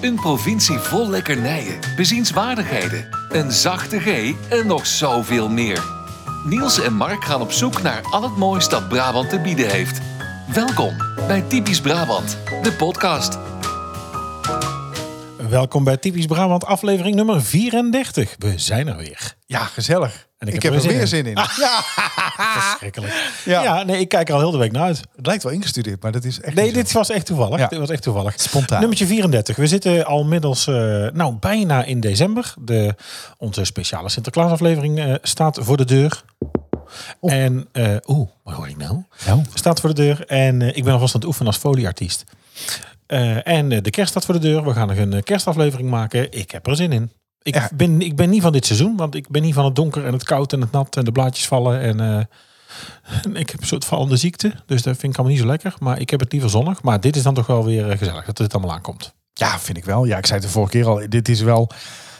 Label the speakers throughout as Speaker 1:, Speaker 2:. Speaker 1: Een provincie vol lekkernijen, bezienswaardigheden, een zachte G en nog zoveel meer. Niels en Mark gaan op zoek naar al het moois dat Brabant te bieden heeft. Welkom bij Typisch Brabant, de podcast.
Speaker 2: Welkom bij Typisch Brabant, aflevering nummer 34. We zijn er weer.
Speaker 3: Ja, gezellig.
Speaker 2: En ik
Speaker 3: En ik,
Speaker 2: heb
Speaker 3: heb,
Speaker 2: er
Speaker 3: er
Speaker 2: weer
Speaker 3: weer zin in. Ja,
Speaker 2: Verschrikkelijk. Ja.
Speaker 3: Ja.
Speaker 2: nee, ik kijk er al heel de week naar uit.
Speaker 3: het lijkt wel ingestudeerd, maar dat is echt.
Speaker 2: Nee,
Speaker 3: niet zo.
Speaker 2: dit was echt toevallig.
Speaker 3: Ja.
Speaker 2: Dit was echt toevallig.
Speaker 3: Spontaan.
Speaker 2: Nummertje 34. We zitten al middels, eh, nou, bijna in december. De, onze speciale Sinterklaasaflevering eh, staat voor de deur. En, eh, oeh, wat hoor ik nou?
Speaker 3: Nou.
Speaker 2: Staat voor de deur. En eh, ik ben alvast aan het oefenen als folieartiest. Eh, en eh, de kerst staat voor de deur. We gaan nog een eh, kerstaflevering maken. Ik heb er zin in. Ik,
Speaker 3: Ja.
Speaker 2: ben, ik ben niet van dit seizoen, want ik ben niet van het donker en het koud en het nat en de blaadjes vallen. En eh, en ik heb een soort vallende ziekte, dus dat vind ik allemaal niet zo lekker. Maar ik heb het liever zonnig. Maar dit is dan toch wel weer eh, gezellig dat dit allemaal aankomt.
Speaker 3: Ja, vind ik wel. Ja, ik zei het de vorige keer al. Dit is wel.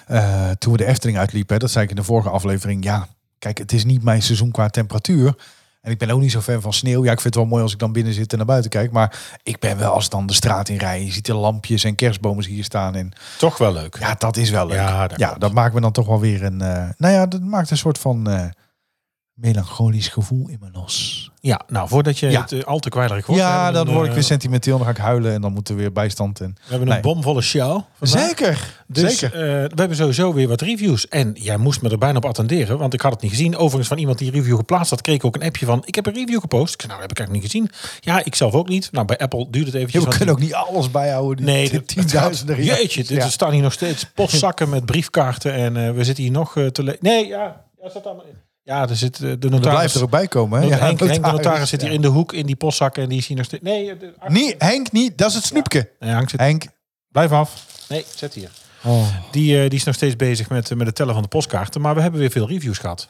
Speaker 3: eh, toen we de Efteling uitliepen, hè, dat zei ik in de vorige aflevering. Ja, kijk, het is niet mijn seizoen qua temperatuur. En ik ben ook niet zo fan van sneeuw. Ja, ik vind het wel mooi als ik dan binnen zit en naar buiten kijk. Maar ik ben wel als ik dan de straat in rij. Je ziet de lampjes en kerstbomen hier staan. En
Speaker 2: Toch wel leuk.
Speaker 3: ja, dat is wel leuk.
Speaker 2: Ja, dat
Speaker 3: dat, ja,
Speaker 2: klopt.
Speaker 3: dat maakt me dan toch wel weer een. eh, nou ja, dat maakt een soort van eh, melancholisch gevoel in me los.
Speaker 2: Ja, nou voordat je
Speaker 3: Ja.
Speaker 2: het eh, al te kwijlerig wordt. we
Speaker 3: ja,
Speaker 2: hebben
Speaker 3: dan
Speaker 2: een,
Speaker 3: word ik
Speaker 2: eh,
Speaker 3: weer sentimenteel. Dan ga ik huilen en dan moeten we weer bijstand. En...
Speaker 2: We hebben een
Speaker 3: Nee.
Speaker 2: bomvolle show. vandaag.
Speaker 3: Zeker,
Speaker 2: Dus
Speaker 3: zeker.
Speaker 2: eh, we hebben sowieso weer wat reviews. En jij moest me er bijna op attenderen, want ik had het niet gezien. Overigens van iemand die een review geplaatst had, kreeg ik ook een appje van... ik heb een review gepost. Ik zei, nou, dat heb ik eigenlijk niet gezien. Ja, ik zelf ook niet. Nou, bij Apple duurde het eventjes.
Speaker 3: Ja, we
Speaker 2: want
Speaker 3: kunnen ook niet alles bijhouden. Die
Speaker 2: Nee,
Speaker 3: nee,
Speaker 2: dat- dat
Speaker 3: tienduizenden
Speaker 2: die-
Speaker 3: reacties.
Speaker 2: Jeetje, dit
Speaker 3: Ja.
Speaker 2: er staan hier nog steeds postzakken met briefkaarten. En eh, we zitten hier nog eh, te... le- Nee, ja, ja, staat allemaal in. Ja, er zit eh, de
Speaker 3: Dat
Speaker 2: notaris...
Speaker 3: blijft er ook bij komen. Hè?
Speaker 2: Henk,
Speaker 3: Ja,
Speaker 2: Henk, de notaris
Speaker 3: notaris,
Speaker 2: zit hier
Speaker 3: ja.
Speaker 2: in de hoek in die postzakken en die is hier nog steeds... Nee, eh, de-
Speaker 3: Nee, Henk niet. Dat is het snoepje.
Speaker 2: Nee, Henk zit...
Speaker 3: Henk.
Speaker 2: Blijf af. Nee, zet hier.
Speaker 3: Oh.
Speaker 2: Die, eh, die is nog steeds bezig met, eh, met het tellen van de postkaarten. Maar we hebben weer veel reviews gehad.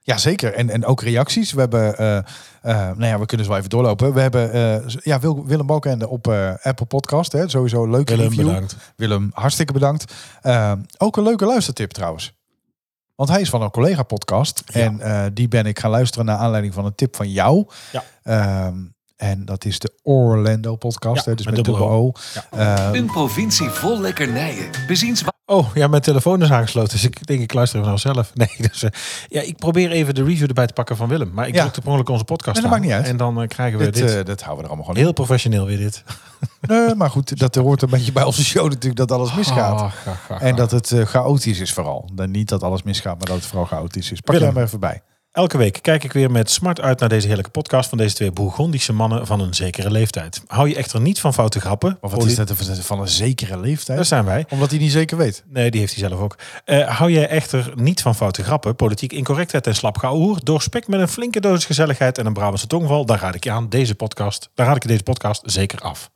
Speaker 3: Ja, zeker. En, en ook reacties. We hebben, eh, eh, nou ja, we kunnen zo wel even doorlopen. We hebben eh, ja, Wil- Willem Balkenende op eh, Apple Podcast. Hè. Sowieso een leuke review. Willem, hartstikke bedankt. Eh, ook een leuke luistertip trouwens. Want hij is van een collega-podcast. En eh, die ben ik gaan luisteren naar aanleiding van een tip van jou.
Speaker 2: Ja.
Speaker 3: Ehm, en dat is de Orlando-podcast.
Speaker 2: Ja,
Speaker 3: hè, dus
Speaker 2: met
Speaker 3: met,
Speaker 2: dubbel
Speaker 3: dubbel
Speaker 2: O.
Speaker 3: O. Ehm,
Speaker 1: Een provincie vol lekkernijen, bezienswaardigheden...
Speaker 2: Oh, ja, mijn telefoon is aangesloten. Dus ik denk, ik luister even naar zelf. Nee, dus eh, ja, ik probeer even de review erbij te pakken van Willem. Maar ik
Speaker 3: Ja.
Speaker 2: drukte per ongeluk onze podcast
Speaker 3: Nee, dat
Speaker 2: aan.
Speaker 3: maakt niet uit.
Speaker 2: En dan eh, krijgen we
Speaker 3: dit,
Speaker 2: dit.
Speaker 3: eh, dat houden we er allemaal gewoon
Speaker 2: Heel professioneel weer dit.
Speaker 3: in. Nee, maar goed, dat hoort een beetje bij onze show natuurlijk, dat alles misgaat.
Speaker 2: Ah, ga, ga, ga.
Speaker 3: en dat het eh, chaotisch is vooral. Dan niet dat alles misgaat, maar dat het vooral chaotisch is. Pak
Speaker 2: Willem.
Speaker 3: jij maar even bij.
Speaker 2: Elke week kijk ik weer met smart uit naar deze heerlijke podcast van deze twee Bourgondische mannen van een zekere leeftijd. Hou je echter niet van foute grappen.
Speaker 3: Maar wat
Speaker 2: poli-
Speaker 3: is dat van een zekere
Speaker 2: Daar
Speaker 3: leeftijd?
Speaker 2: zijn wij.
Speaker 3: Omdat hij niet zeker weet.
Speaker 2: Nee, die heeft hij zelf ook. Eh, hou jij echter niet van foute grappen, politiek incorrectheid en slap geouwehoer? Doorspek met een flinke dosis gezelligheid en een Brabantse tongval. Dan raad ik je aan deze podcast. Dan raad ik je deze podcast zeker af.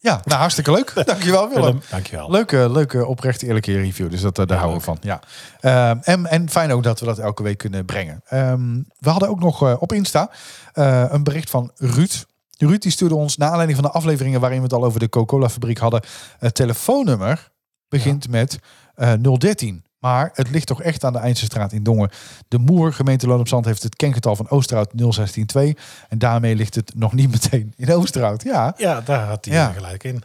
Speaker 3: Ja, nou hartstikke leuk. Dankjewel Willem.
Speaker 2: Willem, dankjewel.
Speaker 3: Leuke, leuke, oprecht eerlijke review. Dus dat, eh, daar
Speaker 2: Ja,
Speaker 3: houden we van. Ja. Ehm, en, en fijn ook dat we dat elke week kunnen brengen. Ehm, we hadden ook nog eh, op Insta eh, een bericht van Ruud. Ruud die stuurde ons, naar aanleiding van de afleveringen waarin we het al over de Coca-Cola-fabriek hadden, het telefoonnummer begint met eh, 013. Maar het ligt toch echt aan de Eindsestraat in Dongen. De Moer, gemeente Loon op Zand, heeft het kengetal van Oosterhout 0162. En daarmee ligt het nog niet meteen in Oosterhout. Ja,
Speaker 2: Ja, daar had hij
Speaker 3: Ja.
Speaker 2: eh, gelijk in.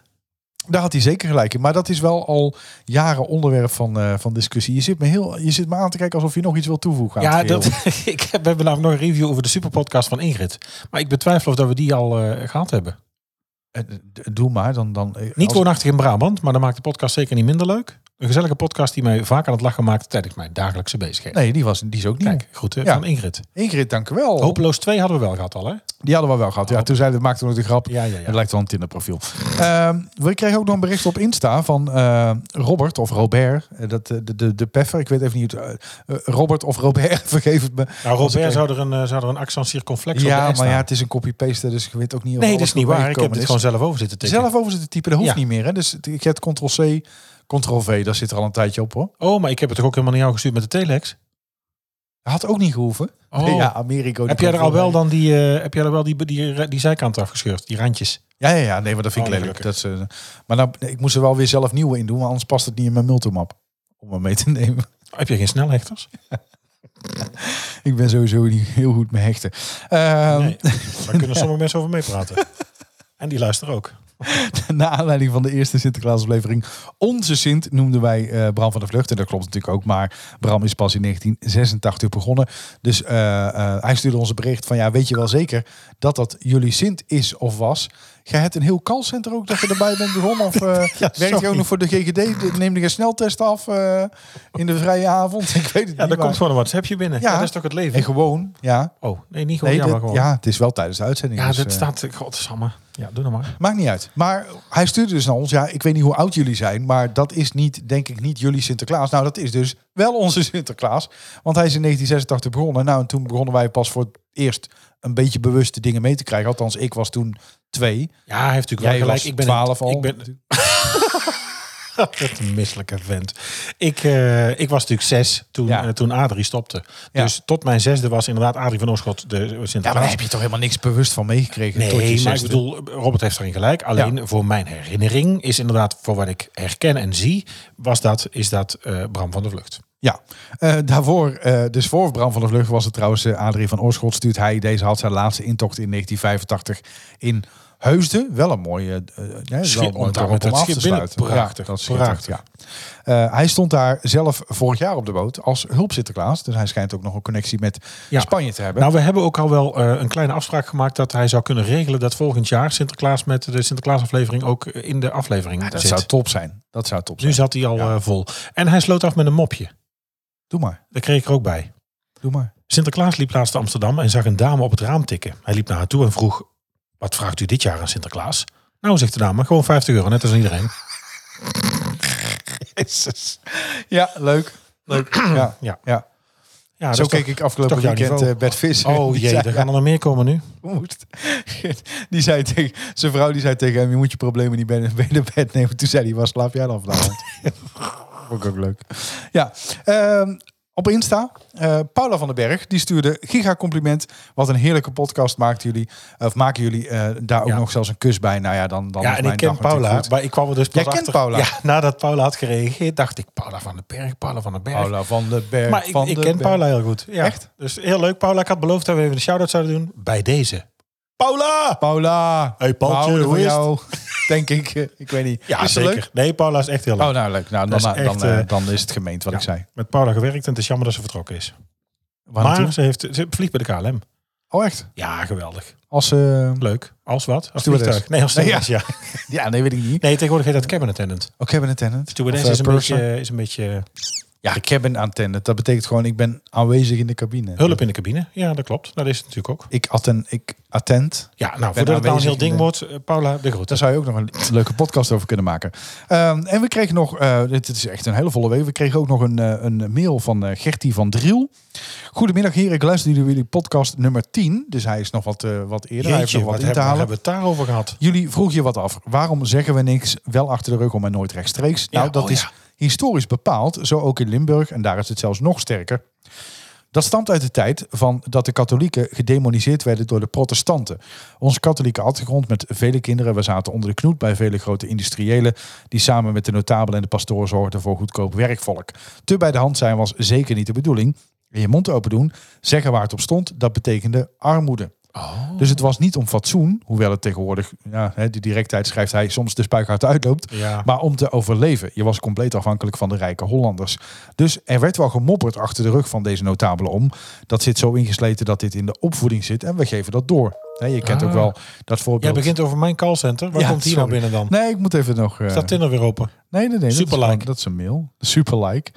Speaker 3: daar had hij zeker gelijk in. Maar dat is wel al jaren onderwerp van, eh, van discussie. Je zit, me heel, je zit me aan te kijken alsof je nog iets wil toevoegen. aan
Speaker 2: Ja,
Speaker 3: het geheel.
Speaker 2: dat, ik heb, we hebben namelijk nog een review over de superpodcast van Ingrid. Maar ik betwijfel of dat we die al eh, gehad hebben.
Speaker 3: Eh, d- Doe maar. Dan, dan, eh,
Speaker 2: Niet
Speaker 3: als-
Speaker 2: woonachtig in Brabant, maar dat maakt de podcast zeker niet minder leuk. Een gezellige podcast die mij vaak aan het lachen maakt tijdens mijn dagelijkse bezigheden.
Speaker 3: Nee, die, was, die is ook niet.
Speaker 2: Kijk, groeten
Speaker 3: Ja. Oh.
Speaker 2: van Ingrid.
Speaker 3: Ingrid, dank u wel.
Speaker 2: Hopeloos 2 hadden we wel gehad al, hè?
Speaker 3: Die hadden we wel gehad. Ja, toen zeiden we, maakten we nog de grap.
Speaker 2: Ja, ja, ja.
Speaker 3: Het lijkt wel een Tinder-profiel. Ehm, we kregen ook nog een bericht op Insta van eh, Robert of Robert. Eh, Dat, eh, de, de, de peffer, ik weet even niet. hoe het- eh, eh, Robert of Robert, vergeef het me.
Speaker 2: Nou,
Speaker 3: Als ik
Speaker 2: Robert
Speaker 3: even-
Speaker 2: zou er een, eh, zou er een accent circonflex op
Speaker 3: Ja,
Speaker 2: de S
Speaker 3: maar ja,
Speaker 2: staan.
Speaker 3: het is een copy-paste, dus ik weet ook niet of
Speaker 2: Nee, dat
Speaker 3: alles
Speaker 2: is niet
Speaker 3: erbij
Speaker 2: waar. Ik heb
Speaker 3: gekomen
Speaker 2: dit
Speaker 3: is.
Speaker 2: gewoon zelf over zitten tikken.
Speaker 3: Zelf over zitten typen, dat hoeft
Speaker 2: Ja.
Speaker 3: niet meer. Hè? Dus het- ik heb Ctrl-C, Ctrl-V, dat zit er al een tijdje op hoor.
Speaker 2: Oh, maar ik heb het toch ook helemaal naar jou gestuurd met de telex?
Speaker 3: Dat had ook niet gehoeven.
Speaker 2: Oh.
Speaker 3: Ja, Amerika. die
Speaker 2: Heb jij er al
Speaker 3: Ctrl-V.
Speaker 2: wel dan die, eh, heb jij er wel die, die, die, zijkant afgescheurd? Die randjes?
Speaker 3: Ja, ja, ja, nee, maar dat vind ik
Speaker 2: Oh,
Speaker 3: lelijk. Dat is, eh, maar nou, ik moest er wel weer zelf nieuwe in doen, want anders past het niet in mijn multimap. Om hem mee te nemen.
Speaker 2: Heb je geen snelhechters?
Speaker 3: Ik ben sowieso niet heel goed met hechten. Ehm,
Speaker 2: nee. Daar kunnen sommige mensen over meepraten. En die luisteren ook.
Speaker 3: Naar aanleiding van de eerste Sinterklaasaflevering. Onze Sint noemden wij eh, Bram van de Vlucht. En dat klopt natuurlijk ook. Maar Bram is pas in 1986 begonnen. Dus eh, eh, hij stuurde ons een bericht van... Ja, weet je wel zeker dat dat jullie Sint is of was? Jij hebt een heel callcenter ook dat je erbij bent begonnen? Of eh werkt je ook
Speaker 2: sorry.
Speaker 3: nog voor de GGD? Neem je een sneltest af eh, in de vrije avond? Ik weet het
Speaker 2: Ja,
Speaker 3: niet.
Speaker 2: daar komt
Speaker 3: maar-
Speaker 2: gewoon een WhatsAppje binnen.
Speaker 3: Ja.
Speaker 2: Ja. dat is toch het leven?
Speaker 3: En gewoon, ja.
Speaker 2: Oh, nee, niet gewoon.
Speaker 3: Nee,
Speaker 2: ja,
Speaker 3: dit-
Speaker 2: maar gewoon. Ja,
Speaker 3: ja, het is wel tijdens de uitzending. dus,
Speaker 2: dat
Speaker 3: eh,
Speaker 2: staat... Godsamme. Ja, doe nou maar.
Speaker 3: Maakt niet uit. Maar hij stuurde dus naar ons. Ja, ik weet niet hoe oud jullie zijn, maar dat is niet, denk ik, niet jullie Sinterklaas. Nou, dat is dus wel onze Sinterklaas. Want hij is in 1986 begonnen. Nou, en toen begonnen wij pas voor het eerst een beetje bewuste dingen mee te krijgen. Althans, ik was toen twee.
Speaker 2: Ja, hij heeft natuurlijk
Speaker 3: Jij
Speaker 2: wel gelijk.
Speaker 3: was
Speaker 2: Ik ben
Speaker 3: 12 al.
Speaker 2: Ik ben... Wat een misselijke vent. Ik, eh, ik was natuurlijk zes toen,
Speaker 3: Ja.
Speaker 2: eh, toen Adrie stopte.
Speaker 3: Ja.
Speaker 2: Dus tot mijn zesde was inderdaad Adrie van Oorschot de Sinterklaas.
Speaker 3: Ja, maar daar heb je toch helemaal niks bewust van meegekregen. tot je
Speaker 2: Nee, maar ik
Speaker 3: zesde?
Speaker 2: bedoel, Robert heeft erin gelijk. Alleen voor mijn herinnering is inderdaad, voor wat ik herken en zie, was dat, is dat eh, Bram van der Vlucht.
Speaker 3: Ja, eh, daarvoor, eh, dus voor Bram van der Vlucht was het trouwens eh, Adrie van Oorschot stuurt hij. Deze had zijn laatste intocht in 1985 in Heusden. Wel een mooie, eh, ja,
Speaker 2: Schip-
Speaker 3: wel een mooi
Speaker 2: om daar
Speaker 3: dorp
Speaker 2: met
Speaker 3: om
Speaker 2: dat
Speaker 3: af te
Speaker 2: schip binnen.
Speaker 3: sluiten.
Speaker 2: Prachtig,
Speaker 3: ja, dat is schitterend,
Speaker 2: prachtig.
Speaker 3: ja. Eh, hij stond daar zelf vorig jaar op de boot als hulp Sinterklaas. Dus hij schijnt ook nog een connectie met
Speaker 2: Ja.
Speaker 3: Spanje te hebben.
Speaker 2: Nou, we hebben ook al wel eh, een kleine afspraak gemaakt dat hij zou kunnen regelen dat volgend jaar Sinterklaas met de Sinterklaasaflevering ook eh, in de aflevering
Speaker 3: dat
Speaker 2: zit.
Speaker 3: zou top zijn. Dat zou top zijn.
Speaker 2: nu zat hij al
Speaker 3: Ja.
Speaker 2: eh, vol. En hij sloot af met een mopje.
Speaker 3: Doe maar,
Speaker 2: Daar kreeg ik er ook bij.
Speaker 3: doe maar.
Speaker 2: Sinterklaas liep laatst te Amsterdam en zag een dame op het raam tikken. Hij liep naar haar toe en vroeg: Wat vraagt u dit jaar aan Sinterklaas? Nou, zegt de dame, gewoon 50 euro, net als aan iedereen.
Speaker 3: Ja, leuk. Leuk. Ja,
Speaker 2: Ja.
Speaker 3: ja.
Speaker 2: Ja, dat
Speaker 3: Zo
Speaker 2: is toch-
Speaker 3: keek ik afgelopen
Speaker 2: toch jouw
Speaker 3: weekend eh
Speaker 2: niveau.
Speaker 3: Bert Visser.
Speaker 2: Oh
Speaker 3: Die
Speaker 2: jee,
Speaker 3: zei-
Speaker 2: er gaan er nog meer komen nu.
Speaker 3: moest. Die zei tegen, zijn vrouw die zei tegen hem, je moet je problemen niet bij bij de bed nemen. Toen zei hij, waar slaap jij dan vanavond? Vond ik ook leuk. Ja, ehm, op Insta, eh, Paula van den Berg, die stuurde giga compliment. Wat een heerlijke podcast maakt jullie. Of maken jullie eh, daar ook
Speaker 2: Ja.
Speaker 3: nog zelfs een kus bij. Nou ja, dan, dan
Speaker 2: Ja,
Speaker 3: is
Speaker 2: en
Speaker 3: mijn
Speaker 2: ik ken
Speaker 3: dag natuurlijk
Speaker 2: Paula,
Speaker 3: goed.
Speaker 2: maar ik kwam er dus pas
Speaker 3: Jij kent
Speaker 2: achter.
Speaker 3: Paula?
Speaker 2: Ja, nadat Paula had gereageerd, dacht ik, Paula van den Berg, Paula van den Berg.
Speaker 3: Paula van den Berg.
Speaker 2: maar ik,
Speaker 3: van
Speaker 2: ik
Speaker 3: den
Speaker 2: ken
Speaker 3: Berg.
Speaker 2: Paula heel goed. Ja.
Speaker 3: Echt?
Speaker 2: Dus heel leuk, Paula. Ik had beloofd dat we even een shout-out zouden doen bij deze. Paula!
Speaker 3: Paula,
Speaker 2: Hey, Paultje,
Speaker 3: we houden
Speaker 2: hoe
Speaker 3: van
Speaker 2: is het?
Speaker 3: jou. Denk ik, eh, ik weet niet.
Speaker 2: Ja,
Speaker 3: is ze
Speaker 2: zeker.
Speaker 3: leuk?
Speaker 2: Nee, Paula is echt heel leuk.
Speaker 3: Oh, nou leuk. Nou, dan,
Speaker 2: Dat is
Speaker 3: dan,
Speaker 2: echt,
Speaker 3: eh,
Speaker 2: eh,
Speaker 3: dan is het gemeend wat
Speaker 2: ja.
Speaker 3: ik zei.
Speaker 2: Met Paula gewerkt en het is jammer dat ze vertrokken is.
Speaker 3: Waar
Speaker 2: maar
Speaker 3: naartoe?
Speaker 2: ze, heeft, ze vliegt bij de KLM.
Speaker 3: Oh, echt?
Speaker 2: Ja, geweldig.
Speaker 3: Als eh,
Speaker 2: Leuk. Als wat? Als
Speaker 3: Stewardess.
Speaker 2: vliegtuig. Nee, als
Speaker 3: Nee,
Speaker 2: stewardess, ja.
Speaker 3: Ja, nee, weet ik niet.
Speaker 2: Nee, tegenwoordig heet dat cabin attendant.
Speaker 3: Oh, cabin attendant.
Speaker 2: Stewardess
Speaker 3: Of, eh,
Speaker 2: is, een
Speaker 3: purser.
Speaker 2: beetje, is een beetje
Speaker 3: Ja, cabin attendant. Dat betekent gewoon, ik ben aanwezig in de cabine.
Speaker 2: hulp in de cabine. Ja, dat klopt. Nou, Dat is het natuurlijk ook.
Speaker 3: Ik attend, ik attend.
Speaker 2: Ja, nou, voordat het nou een
Speaker 3: aanwezig
Speaker 2: heel ding
Speaker 3: in de-
Speaker 2: wordt, eh, Paula, de groeten.
Speaker 3: Daar zou je ook nog een leuke podcast over kunnen maken. Ehm, en we kregen nog, eh, dit is echt een hele volle week. We kregen ook nog een, eh, een mail van eh, Gertie van Driel. Goedemiddag heren, ik luister naar jullie podcast nummer 10. Dus hij is nog wat, eh, wat eerder. hij heeft
Speaker 2: Jeetje,
Speaker 3: nog
Speaker 2: wat
Speaker 3: wat in
Speaker 2: hebben,
Speaker 3: te halen.
Speaker 2: hebben we het daarover gehad?
Speaker 3: Jullie vroeg je wat af. Waarom zeggen we niks wel achter de rug om en nooit rechtstreeks? Nou,
Speaker 2: Ja,
Speaker 3: dat
Speaker 1: oh
Speaker 3: is
Speaker 1: ja.
Speaker 3: historisch bepaald, zo ook in Limburg. En daar is het zelfs nog sterker. Dat stamt uit de tijd van dat de katholieken gedemoniseerd werden door de protestanten. Onze katholieke achtergrond met vele kinderen. We zaten onder de knoet bij vele grote industriëlen. Die samen met de notabelen en de pastoor zorgden voor goedkoop werkvolk. Te bij de hand zijn was zeker niet de bedoeling. Je mond open doen, zeggen waar het op stond, dat betekende armoede. Dus het was niet om fatsoen, hoewel het tegenwoordig, ja, hè, die directheid schrijft hij, soms de spuigaat uitloopt.
Speaker 2: Ja.
Speaker 3: Maar om te overleven. Je was compleet afhankelijk van de rijke Hollanders. Dus er werd wel gemopperd achter de rug van deze notabelen om. Dat zit zo ingesleten dat dit in de opvoeding zit en we geven dat door. Hè, je kent
Speaker 2: Ah.
Speaker 3: ook wel
Speaker 2: Jij
Speaker 3: dat voorbeeld.
Speaker 2: begint over mijn callcenter. Waar
Speaker 3: Ja,
Speaker 2: komt die
Speaker 3: sorry.
Speaker 2: nou binnen dan?
Speaker 3: Nee, ik moet even nog... eh,
Speaker 2: Staat Tinder weer open?
Speaker 3: nee, nee, nee. dat, is,
Speaker 2: Superlike.
Speaker 3: gewoon- dat is een mail. Superlike.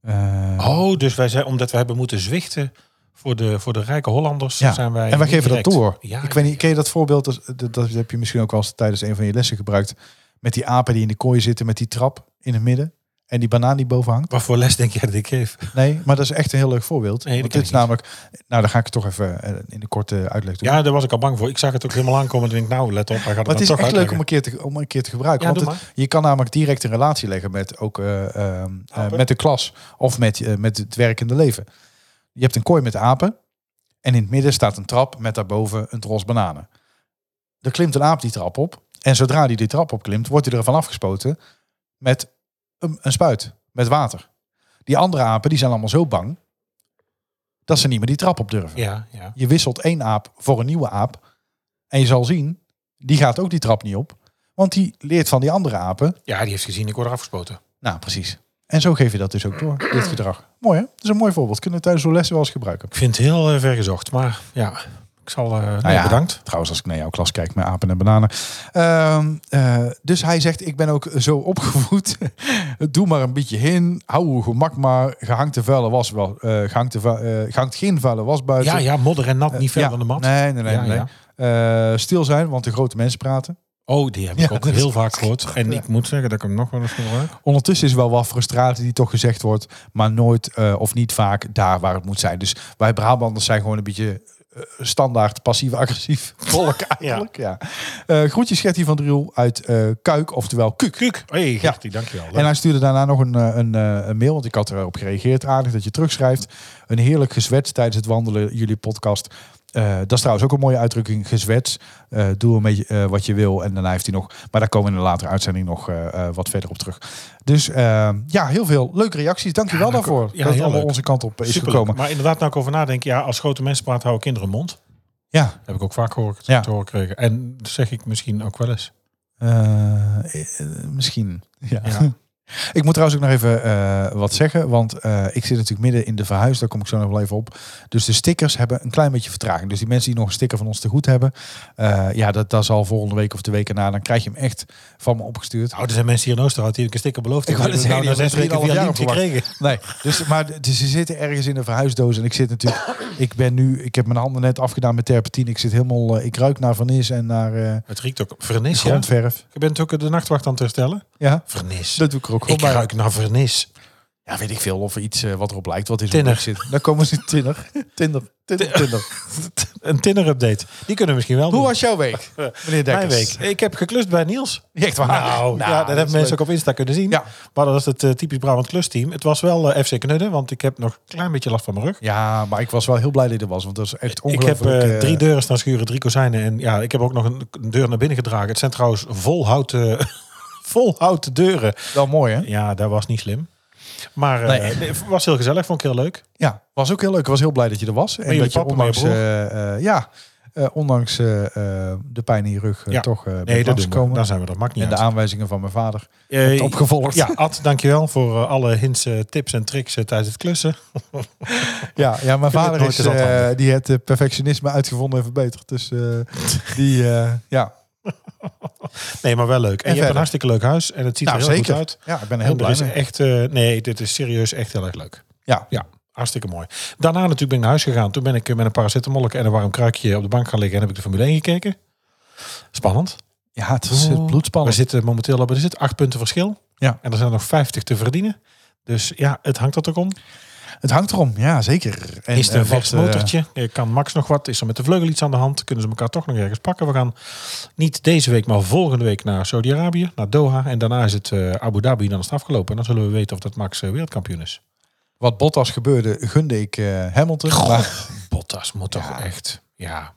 Speaker 3: Eh,
Speaker 2: Oh, dus wij zijn, omdat we hebben moeten zwichten voor de, voor de rijke Hollanders,
Speaker 3: Ja.
Speaker 2: zijn wij
Speaker 3: en wij
Speaker 2: niet
Speaker 3: geven dat
Speaker 2: direct.
Speaker 3: door.
Speaker 2: Ja,
Speaker 3: ik weet niet, ken je dat voorbeeld? Dat, dat, dat heb je misschien ook wel eens tijdens een van je lessen gebruikt. Met die apen die in de kooi zitten met die trap in het midden. En die banaan die boven hangt.
Speaker 2: Wat voor les denk jij dat ik geef?
Speaker 3: Nee, maar dat is echt een heel leuk voorbeeld.
Speaker 2: Nee, dat
Speaker 3: Want
Speaker 2: ken
Speaker 3: dit
Speaker 2: ik
Speaker 3: is
Speaker 2: niet.
Speaker 3: namelijk... Nou, dan ga ik het toch even eh, in de korte uitleg doen.
Speaker 2: Ja, daar was ik al bang voor. Ik zag het ook helemaal aankomen. Ik denk, nou, let op, hij gaat het
Speaker 3: maar
Speaker 2: dan
Speaker 3: het is
Speaker 2: toch
Speaker 3: echt leuk om
Speaker 2: uitleggen.
Speaker 3: een keer te, om een keer te gebruiken.
Speaker 2: Ja,
Speaker 3: want
Speaker 2: doe
Speaker 3: het- je kan namelijk direct een relatie leggen met, ook, eh, ehm, eh,
Speaker 2: Apen.
Speaker 3: met de klas. Of met, eh, met het werkende leven. Je hebt een kooi met apen. En in het midden staat een trap met daarboven een tros bananen. Er klimt een aap die trap op. En zodra die die trap opklimt, wordt hij ervan afgespoten met een, een spuit. Met water. Die andere apen die zijn allemaal zo bang dat ze niet meer die trap op durven.
Speaker 2: Ja, ja.
Speaker 3: Je wisselt één aap voor een nieuwe aap. En je zal zien, die gaat ook die trap niet op. Want die leert van die andere apen.
Speaker 2: Ja, die heeft gezien, ik word eraf gespoten.
Speaker 3: Nou, precies. En zo geef je dat dus ook door, dit gedrag. Mooi hè? Dat is een mooi voorbeeld. Kunnen we tijdens zo'n les wel eens gebruiken.
Speaker 2: Ik vind het heel eh, vergezocht, maar ja, ik zal... eh, nee,
Speaker 3: ja.
Speaker 2: bedankt.
Speaker 3: Trouwens, als ik naar jouw klas kijk met apen en bananen. Ehm, eh, dus hij zegt, ik ben ook zo opgevoed. Doe maar een beetje hin. Hou uw gemak maar. Gehangte vuile was wel. eh gehangte vu- eh, gehangt geen vuile was buiten.
Speaker 2: Ja, ja, modder en nat, niet ver
Speaker 3: Eh, Ja.
Speaker 2: van de mat.
Speaker 3: Nee, nee, nee.
Speaker 2: Ja,
Speaker 3: nee.
Speaker 2: ja.
Speaker 3: Eh, stil zijn, want de grote mensen praten.
Speaker 2: Oh, die heb ik
Speaker 3: Ja,
Speaker 2: ook
Speaker 3: dat is-
Speaker 2: heel vaak gehoord. En ik moet zeggen dat ik hem nog wel eens gebruik.
Speaker 3: Ondertussen is wel wat frustratie die toch gezegd wordt, maar nooit eh, of niet vaak daar waar het moet zijn. Dus wij Brabanders zijn gewoon een beetje eh, standaard passief-agressief volk eigenlijk. Ja. Eh, groetjes Gertie van Driel uit eh, Kuik, oftewel Kuuk.
Speaker 2: Kuk. hey,
Speaker 3: Ja.
Speaker 2: Gertie, dankjewel.
Speaker 3: En hij stuurde daarna nog een, eh, een, eh, een mail, want ik had erop gereageerd. Aardig dat je terugschrijft. Een heerlijk gezwets tijdens het wandelen, jullie podcast. Eh, dat is trouwens ook een mooie uitdrukking, gezwets. Eh, doe een beetje eh, wat je wil. En daarna heeft hij nog, maar daar komen we in een latere uitzending nog eh, eh, wat verder op terug. Dus eh, ja, heel veel leuke reacties. Dankjewel
Speaker 2: Ja, dank-
Speaker 3: daarvoor
Speaker 2: ja,
Speaker 3: dat het
Speaker 2: heel
Speaker 3: allemaal
Speaker 2: leuk.
Speaker 3: onze kant op is
Speaker 2: Superleuk.
Speaker 3: gekomen.
Speaker 2: Maar inderdaad, nou ik over nadenk. Ja, als grote mensen praten, houden kinderen mond.
Speaker 3: Ja,
Speaker 2: Heb ik ook vaak gehoord,
Speaker 3: Ja.
Speaker 2: te horen gekregen. En dat zeg ik misschien ook wel eens.
Speaker 3: eh, eh, misschien. Ja.
Speaker 2: Ja. Nou,
Speaker 3: Ik moet trouwens ook nog even eh, wat zeggen, want eh, ik zit natuurlijk midden in de verhuis, daar kom ik zo nog wel even op. Dus de stickers hebben een klein beetje vertraging. Dus die mensen die nog een sticker van ons te goed hebben, eh, ja, dat, dat zal volgende week of de week erna, dan krijg je hem echt van me opgestuurd.
Speaker 2: Nou, er zijn mensen hier in Oosterhout die heb ik een sticker beloofd.
Speaker 3: Ik wou net
Speaker 2: heb nou
Speaker 3: zeggen,
Speaker 2: na
Speaker 3: die
Speaker 2: zes weken
Speaker 3: hebben
Speaker 2: via Liem
Speaker 3: misschien al wat
Speaker 2: gekregen.
Speaker 3: Nee, dus, maar dus ze zitten ergens in de verhuisdoos en ik zit natuurlijk, ik ben nu, ik heb mijn handen net afgedaan met terpentine, ik zit helemaal, eh, ik ruik naar vernis en naar eh,
Speaker 2: Het riekt ook. Vernis, ja.
Speaker 3: grondverf.
Speaker 2: Je bent ook de nachtwacht aan het herstellen.
Speaker 3: Ja,
Speaker 2: Vernis.
Speaker 3: dat doe ik er ook gewoon
Speaker 2: ik
Speaker 3: bij.
Speaker 2: ruik naar vernis.
Speaker 3: Ja, weet ik veel. Of iets eh, wat erop lijkt. Wat is
Speaker 2: Tinner.
Speaker 3: er zit. Daar komen ze tinner. Tinder. Tinder. Tinder.
Speaker 2: Een Tinder-update. Die kunnen we misschien wel
Speaker 3: Hoe
Speaker 2: doen.
Speaker 3: was jouw week, meneer
Speaker 2: Mijn
Speaker 3: Dekkers?
Speaker 2: week. Ik heb geklust bij Niels.
Speaker 3: Echt waar?
Speaker 2: Nou, ja, dat,
Speaker 3: Ah, is
Speaker 2: hebben mensen
Speaker 3: leuk.
Speaker 2: ook op Insta kunnen zien.
Speaker 3: Ja.
Speaker 2: Maar dat was het eh, typisch Brabant klusteam. Het was wel eh, FC Knudden, want ik heb nog een klein beetje last van mijn rug.
Speaker 3: Ja, maar ik was wel heel blij dat dit er was. Want dat is echt
Speaker 2: Ik heb
Speaker 3: ongelooflijk.
Speaker 2: eh,
Speaker 3: eh,
Speaker 2: drie deuren staan schuren, drie kozijnen. En ja, ik heb ook nog een, een deur naar binnen gedragen. Het zijn trouwens vol houten, vol houten deuren.
Speaker 3: Wel mooi, hè?
Speaker 2: Ja, dat was niet slim. Maar eh,
Speaker 3: Nee.
Speaker 2: nee, het was heel gezellig, vond ik heel leuk.
Speaker 3: Ja, was ook heel leuk. Ik was heel blij dat je er was. En
Speaker 2: jullie
Speaker 3: dat je
Speaker 2: papa, maar je
Speaker 3: ondanks... eh, eh, ja, eh, ondanks eh, eh, de pijn in je rug eh,
Speaker 2: Ja.
Speaker 3: toch eh
Speaker 2: Nee,
Speaker 3: bent
Speaker 2: dat doen we.
Speaker 3: langgekomen.
Speaker 2: Daar zijn we, dat maakt niet
Speaker 3: En de
Speaker 2: uit.
Speaker 3: aanwijzingen van mijn vader.
Speaker 2: Eh,
Speaker 3: hebt opgevolgd.
Speaker 2: Ja, Ad, dankjewel voor eh, alle hints, eh, tips en tricks eh, tijdens het klussen.
Speaker 3: Ja, ja mijn
Speaker 2: Ik vind
Speaker 3: vader
Speaker 2: het
Speaker 3: is,
Speaker 2: nooit eens
Speaker 3: eh,
Speaker 2: handig.
Speaker 3: die het eh, perfectionisme uitgevonden en verbeterd. Dus eh, die, eh, ja.
Speaker 2: Nee, maar wel leuk. En, je hebt
Speaker 3: verder.
Speaker 2: een hartstikke leuk huis en het ziet
Speaker 3: Nou,
Speaker 2: er heel
Speaker 3: zeker.
Speaker 2: goed uit.
Speaker 3: Ja, ik ben er heel
Speaker 2: en er
Speaker 3: blij
Speaker 2: is
Speaker 3: mee.
Speaker 2: echt, eh, nee, dit is serieus echt heel erg leuk.
Speaker 3: Ja.
Speaker 2: Ja, hartstikke mooi. Daarna natuurlijk ben ik naar huis gegaan. Toen ben ik eh, met een paracetamollek en een warm kruikje op de bank gaan liggen en heb ik de Formule 1 gekeken. Spannend.
Speaker 3: Ja, het is eh, het
Speaker 2: We
Speaker 3: bloedspannend.
Speaker 2: zitten momenteel op, er zit acht punten verschil.
Speaker 3: Ja.
Speaker 2: En er zijn nog 50 te verdienen. Dus ja, het hangt er ook om.
Speaker 3: Het hangt erom, ja, zeker. En,
Speaker 2: Is er
Speaker 3: eh,
Speaker 2: een
Speaker 3: wat,
Speaker 2: vast
Speaker 3: eh,
Speaker 2: motortje? Eh, Kan Max nog wat? Is er met de vleugel iets aan de hand? Kunnen ze elkaar toch nog ergens pakken? We gaan niet deze week, maar volgende week naar Saudi-Arabië, naar Doha. En daarna is het eh, Abu Dhabi en dan is het afgelopen. En dan zullen we weten of dat Max eh, wereldkampioen is.
Speaker 3: wat Bottas gebeurde, gunde ik eh, Hamilton. Maar
Speaker 2: Bottas moet toch
Speaker 3: Ja.
Speaker 2: echt... Ja,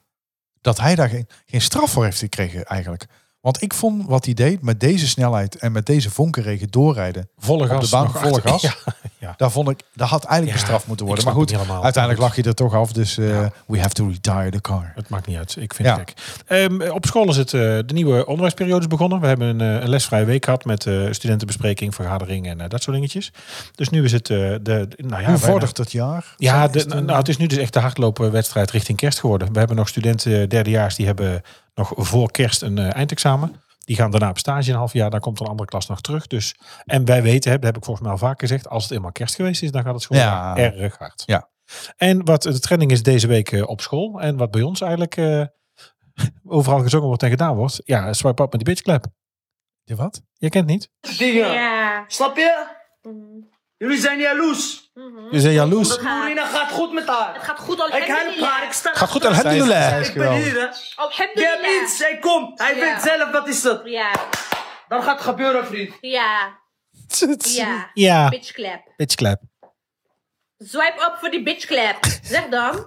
Speaker 3: dat hij daar geen, geen straf voor heeft gekregen eigenlijk. Want ik vond wat hij deed met deze snelheid en met deze vonkenregen doorrijden.
Speaker 2: volle gas.
Speaker 3: op de baan,
Speaker 2: nog
Speaker 3: volle
Speaker 2: achter-
Speaker 3: gas.
Speaker 2: Ja,
Speaker 3: Daar, vond ik, daar had eigenlijk
Speaker 2: Ja,
Speaker 3: bestraft moeten
Speaker 2: ik
Speaker 3: worden.
Speaker 2: snap
Speaker 3: Maar goed,
Speaker 2: het niet helemaal.
Speaker 3: uiteindelijk lag je er toch af. Dus eh, we have to retire the car.
Speaker 2: het maakt niet uit. Ik vind
Speaker 3: Ja.
Speaker 2: het gek. Ehm, op school is het, eh, de nieuwe onderwijsperiode is begonnen. We hebben een, eh, een lesvrije week gehad met eh, studentenbespreking, vergadering en eh, dat soort dingetjes. Dus nu is het... eh, de, nou ja,
Speaker 3: Hoe
Speaker 2: bijna-
Speaker 3: vordert het jaar?
Speaker 2: Ja,
Speaker 3: Zijn
Speaker 2: de-
Speaker 3: is het een-
Speaker 2: nou, het is nu dus echt de hardlopenwedstrijd richting kerst geworden. We hebben nog studenten eh, derdejaars die hebben nog voor kerst een eh, eindexamen. Die gaan daarna op stage een half jaar. Dan komt een andere klas nog terug. Dus, en wij weten, hè, dat heb ik volgens mij al vaak gezegd, als het eenmaal kerst geweest is, dan gaat het school
Speaker 3: Ja.
Speaker 2: erg hard.
Speaker 3: Ja.
Speaker 2: En wat de trending is deze week eh, op school en wat bij ons eigenlijk eh, overal gezongen wordt en gedaan wordt. Ja, swipe up met die bitch clap.
Speaker 3: De wat?
Speaker 2: Je kent niet.
Speaker 4: dingen.
Speaker 5: Ja. Mm.
Speaker 4: Snap je? Jullie zijn jaloers.
Speaker 2: Je zei jaloers.
Speaker 4: Noorina gaat goed met haar.
Speaker 5: Het gaat goed,
Speaker 4: Ik help haar, ik
Speaker 5: alhamdulillah.
Speaker 4: sta
Speaker 2: Gaat goed, alhamdulillah.
Speaker 3: Zij is
Speaker 4: Ik ben
Speaker 3: geweldig.
Speaker 4: hier, hè. Je hebt
Speaker 5: Alhamdulillah.
Speaker 4: niets, hij komt. Hij
Speaker 5: Ja.
Speaker 4: weet zelf wat is dat.
Speaker 5: Ja,
Speaker 4: Dan gaat het gebeuren, vriend.
Speaker 5: ja, ja.
Speaker 2: Ja,
Speaker 5: Bitch clap.
Speaker 2: bitch clap.
Speaker 5: Swipe up voor die bitch clap. Zeg dan.